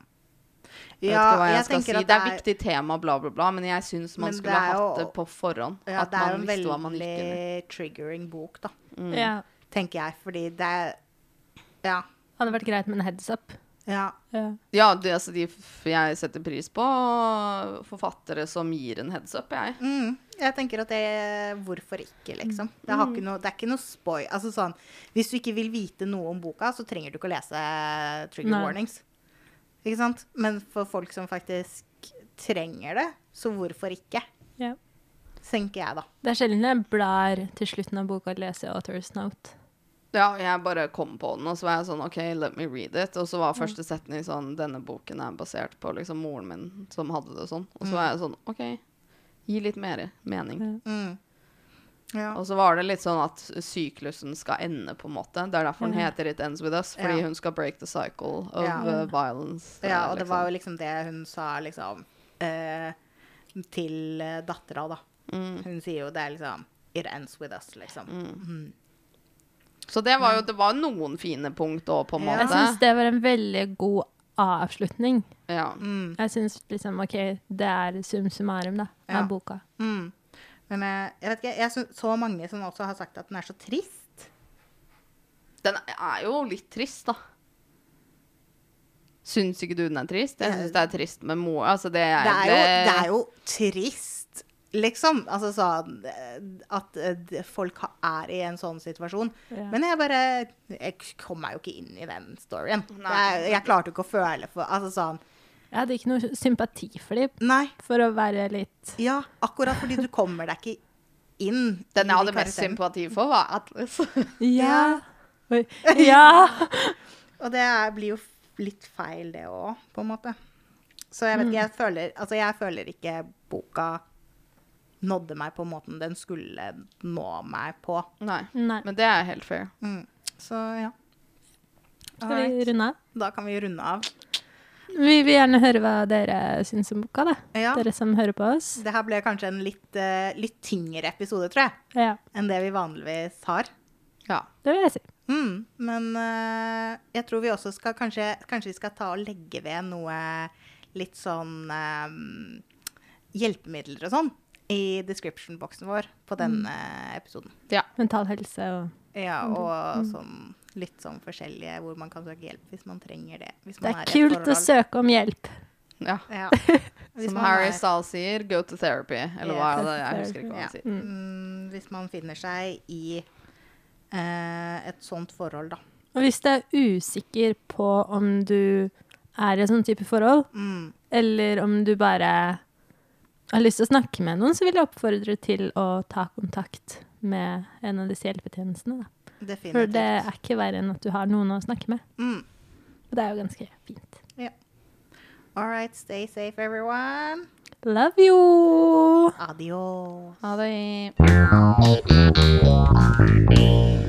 S1: Jeg
S2: Ja,
S1: vet ikke hva jeg, skal si.
S2: tenker
S1: Det
S2: at
S1: er, viktig tema, bla, bla, bla, men jeg syns man
S2: Men det
S1: skulle ha
S2: er jo-
S1: hatt det på forhånd.
S2: Ja,
S1: at
S2: det er jo
S1: man
S2: en
S1: visste hva man gikk inn i.
S2: veldig triggering bok, da,
S3: ja.
S2: tenker jeg. Fordi det er Ja.
S3: Hadde vært greit med en heads up.
S2: Ja.
S3: Ja.
S1: Ja, det, altså, de f jeg setter pris på forfattere som gir en heads up, jeg.
S2: Mm. Jeg tenker at det Hvorfor ikke, liksom? Det, har ikke noe, det er ikke noe spoil. Altså sånn Hvis du ikke vil vite noe om boka, så trenger du ikke å lese trigger
S3: Nei.
S2: warnings. Ikke sant? Men for folk som faktisk trenger det, så hvorfor ikke?
S3: Ja.
S2: Tenker jeg, da.
S3: Det er sjelden jeg blar til slutten av boka og leser Author's Note.
S1: Ja, jeg bare kom på den, og så var jeg sånn OK, let me read it. Og så
S2: Mm.
S1: var første setning sånn Denne boken er basert på liksom moren min som hadde det sånn. Og så var jeg sånn OK, gi litt mer mening.
S2: Mm. Ja.
S1: Og så var det litt sånn at syklusen skal ende, på en måte. Det er derfor den heter It Ends With Us, fordi
S2: Mm. Ja.
S1: hun skal break the cycle of
S2: Ja.
S1: uh, violence.
S2: Ja,
S1: eh,
S2: og det
S1: liksom.
S2: var jo liksom det hun sa liksom eh, til eh, dattera, da.
S1: Mm.
S2: Hun sier jo det er liksom It ends with us, liksom.
S1: Så det var jo det var noen fine punkt òg, på en
S2: Mm. Ja.
S3: Jeg
S1: måte.
S3: syns det var en veldig god avslutning.
S1: Ja.
S2: Mm,
S3: Jeg syns liksom OK, det er sum summarum, da, av
S2: Ja.
S3: boka.
S2: mm. Men eh, jeg vet ikke, jeg syns så mange som også har sagt at den er så trist.
S1: Den er jo litt trist, da. Syns ikke du den er trist? Jeg syns det er trist med mor. Altså, det er,
S2: Det er jo, det er jo trist, liksom. Altså sånn eh, at eh, d- folk ha- er i en sånn situasjon.
S3: Ja.
S2: Men jeg bare Jeg kom meg jo ikke inn i den storyen.
S1: Nei.
S2: Jeg, jeg klarte jo ikke å føle for Altså sånn
S3: Jeg hadde ikke noe sympati for dem,
S2: Nei.
S3: for å være litt
S2: Ja, akkurat fordi du kommer deg ikke inn. i
S1: Den
S2: de
S1: jeg hadde mest
S2: karakterene.
S1: sympati for, var Atlas.
S3: Ja! Oi. Ja!
S2: Og det er, blir jo f- litt feil, det òg, på en måte. Så jeg vet ikke, jeg føler, altså jeg føler ikke boka nådde meg på måten den skulle nå meg på.
S1: Nei.
S3: Nei.
S1: Men det er helt fair.
S2: Mm. Så ja.
S3: Skal vi
S2: Alright.
S3: runde av?
S2: Da kan vi runde av.
S3: Vi vil gjerne høre hva dere syns om boka, da.
S2: Ja.
S3: Dere som hører på oss.
S2: Det her ble kanskje en litt, eh, litt tyngre episode, tror jeg,
S3: Ja,
S2: enn det vi vanligvis har.
S1: Ja.
S3: det vil jeg si.
S2: Mm, men eh, jeg tror vi også skal kanskje, kanskje vi skal ta og legge ved noe litt sånn eh, hjelpemidler og sånn i description-boksen vår på
S3: Mm.
S2: denne episoden.
S3: Mental helse og
S2: Ja,
S3: Mm,
S2: og sånn litt sånn forskjellige hvor man kan søke hjelp hvis man trenger det. Hvis
S3: Det
S2: man
S3: er
S2: i et
S3: kult å
S2: forhold.
S3: søke om hjelp.
S1: ja.
S2: Ja. Hvis
S1: Som
S2: man
S1: Harry
S2: er-
S1: Styles sier, go to therapy. Eller hva
S2: Yeah, Mm.
S3: go to
S1: er det? Jeg husker ikke hva
S2: ja.
S1: han sier.
S2: mm, hvis man finner seg i eh, et sånt forhold, da.
S3: Og hvis du er usikker på om du er i en sånn type forhold,
S2: Mm.
S3: eller om du bare har lyst til å snakke med noen, så vil jeg oppfordre til å ta kontakt med en av disse hjelpetjenestene. Da.
S2: Definitivt.
S3: For det er ikke verre enn at du har noen å snakke med.
S2: mm.
S3: Og det er jo ganske fint.
S2: All right, stay safe, everyone.
S3: Love
S2: 啊哦
S3: you!
S2: Adios.
S1: Ha det.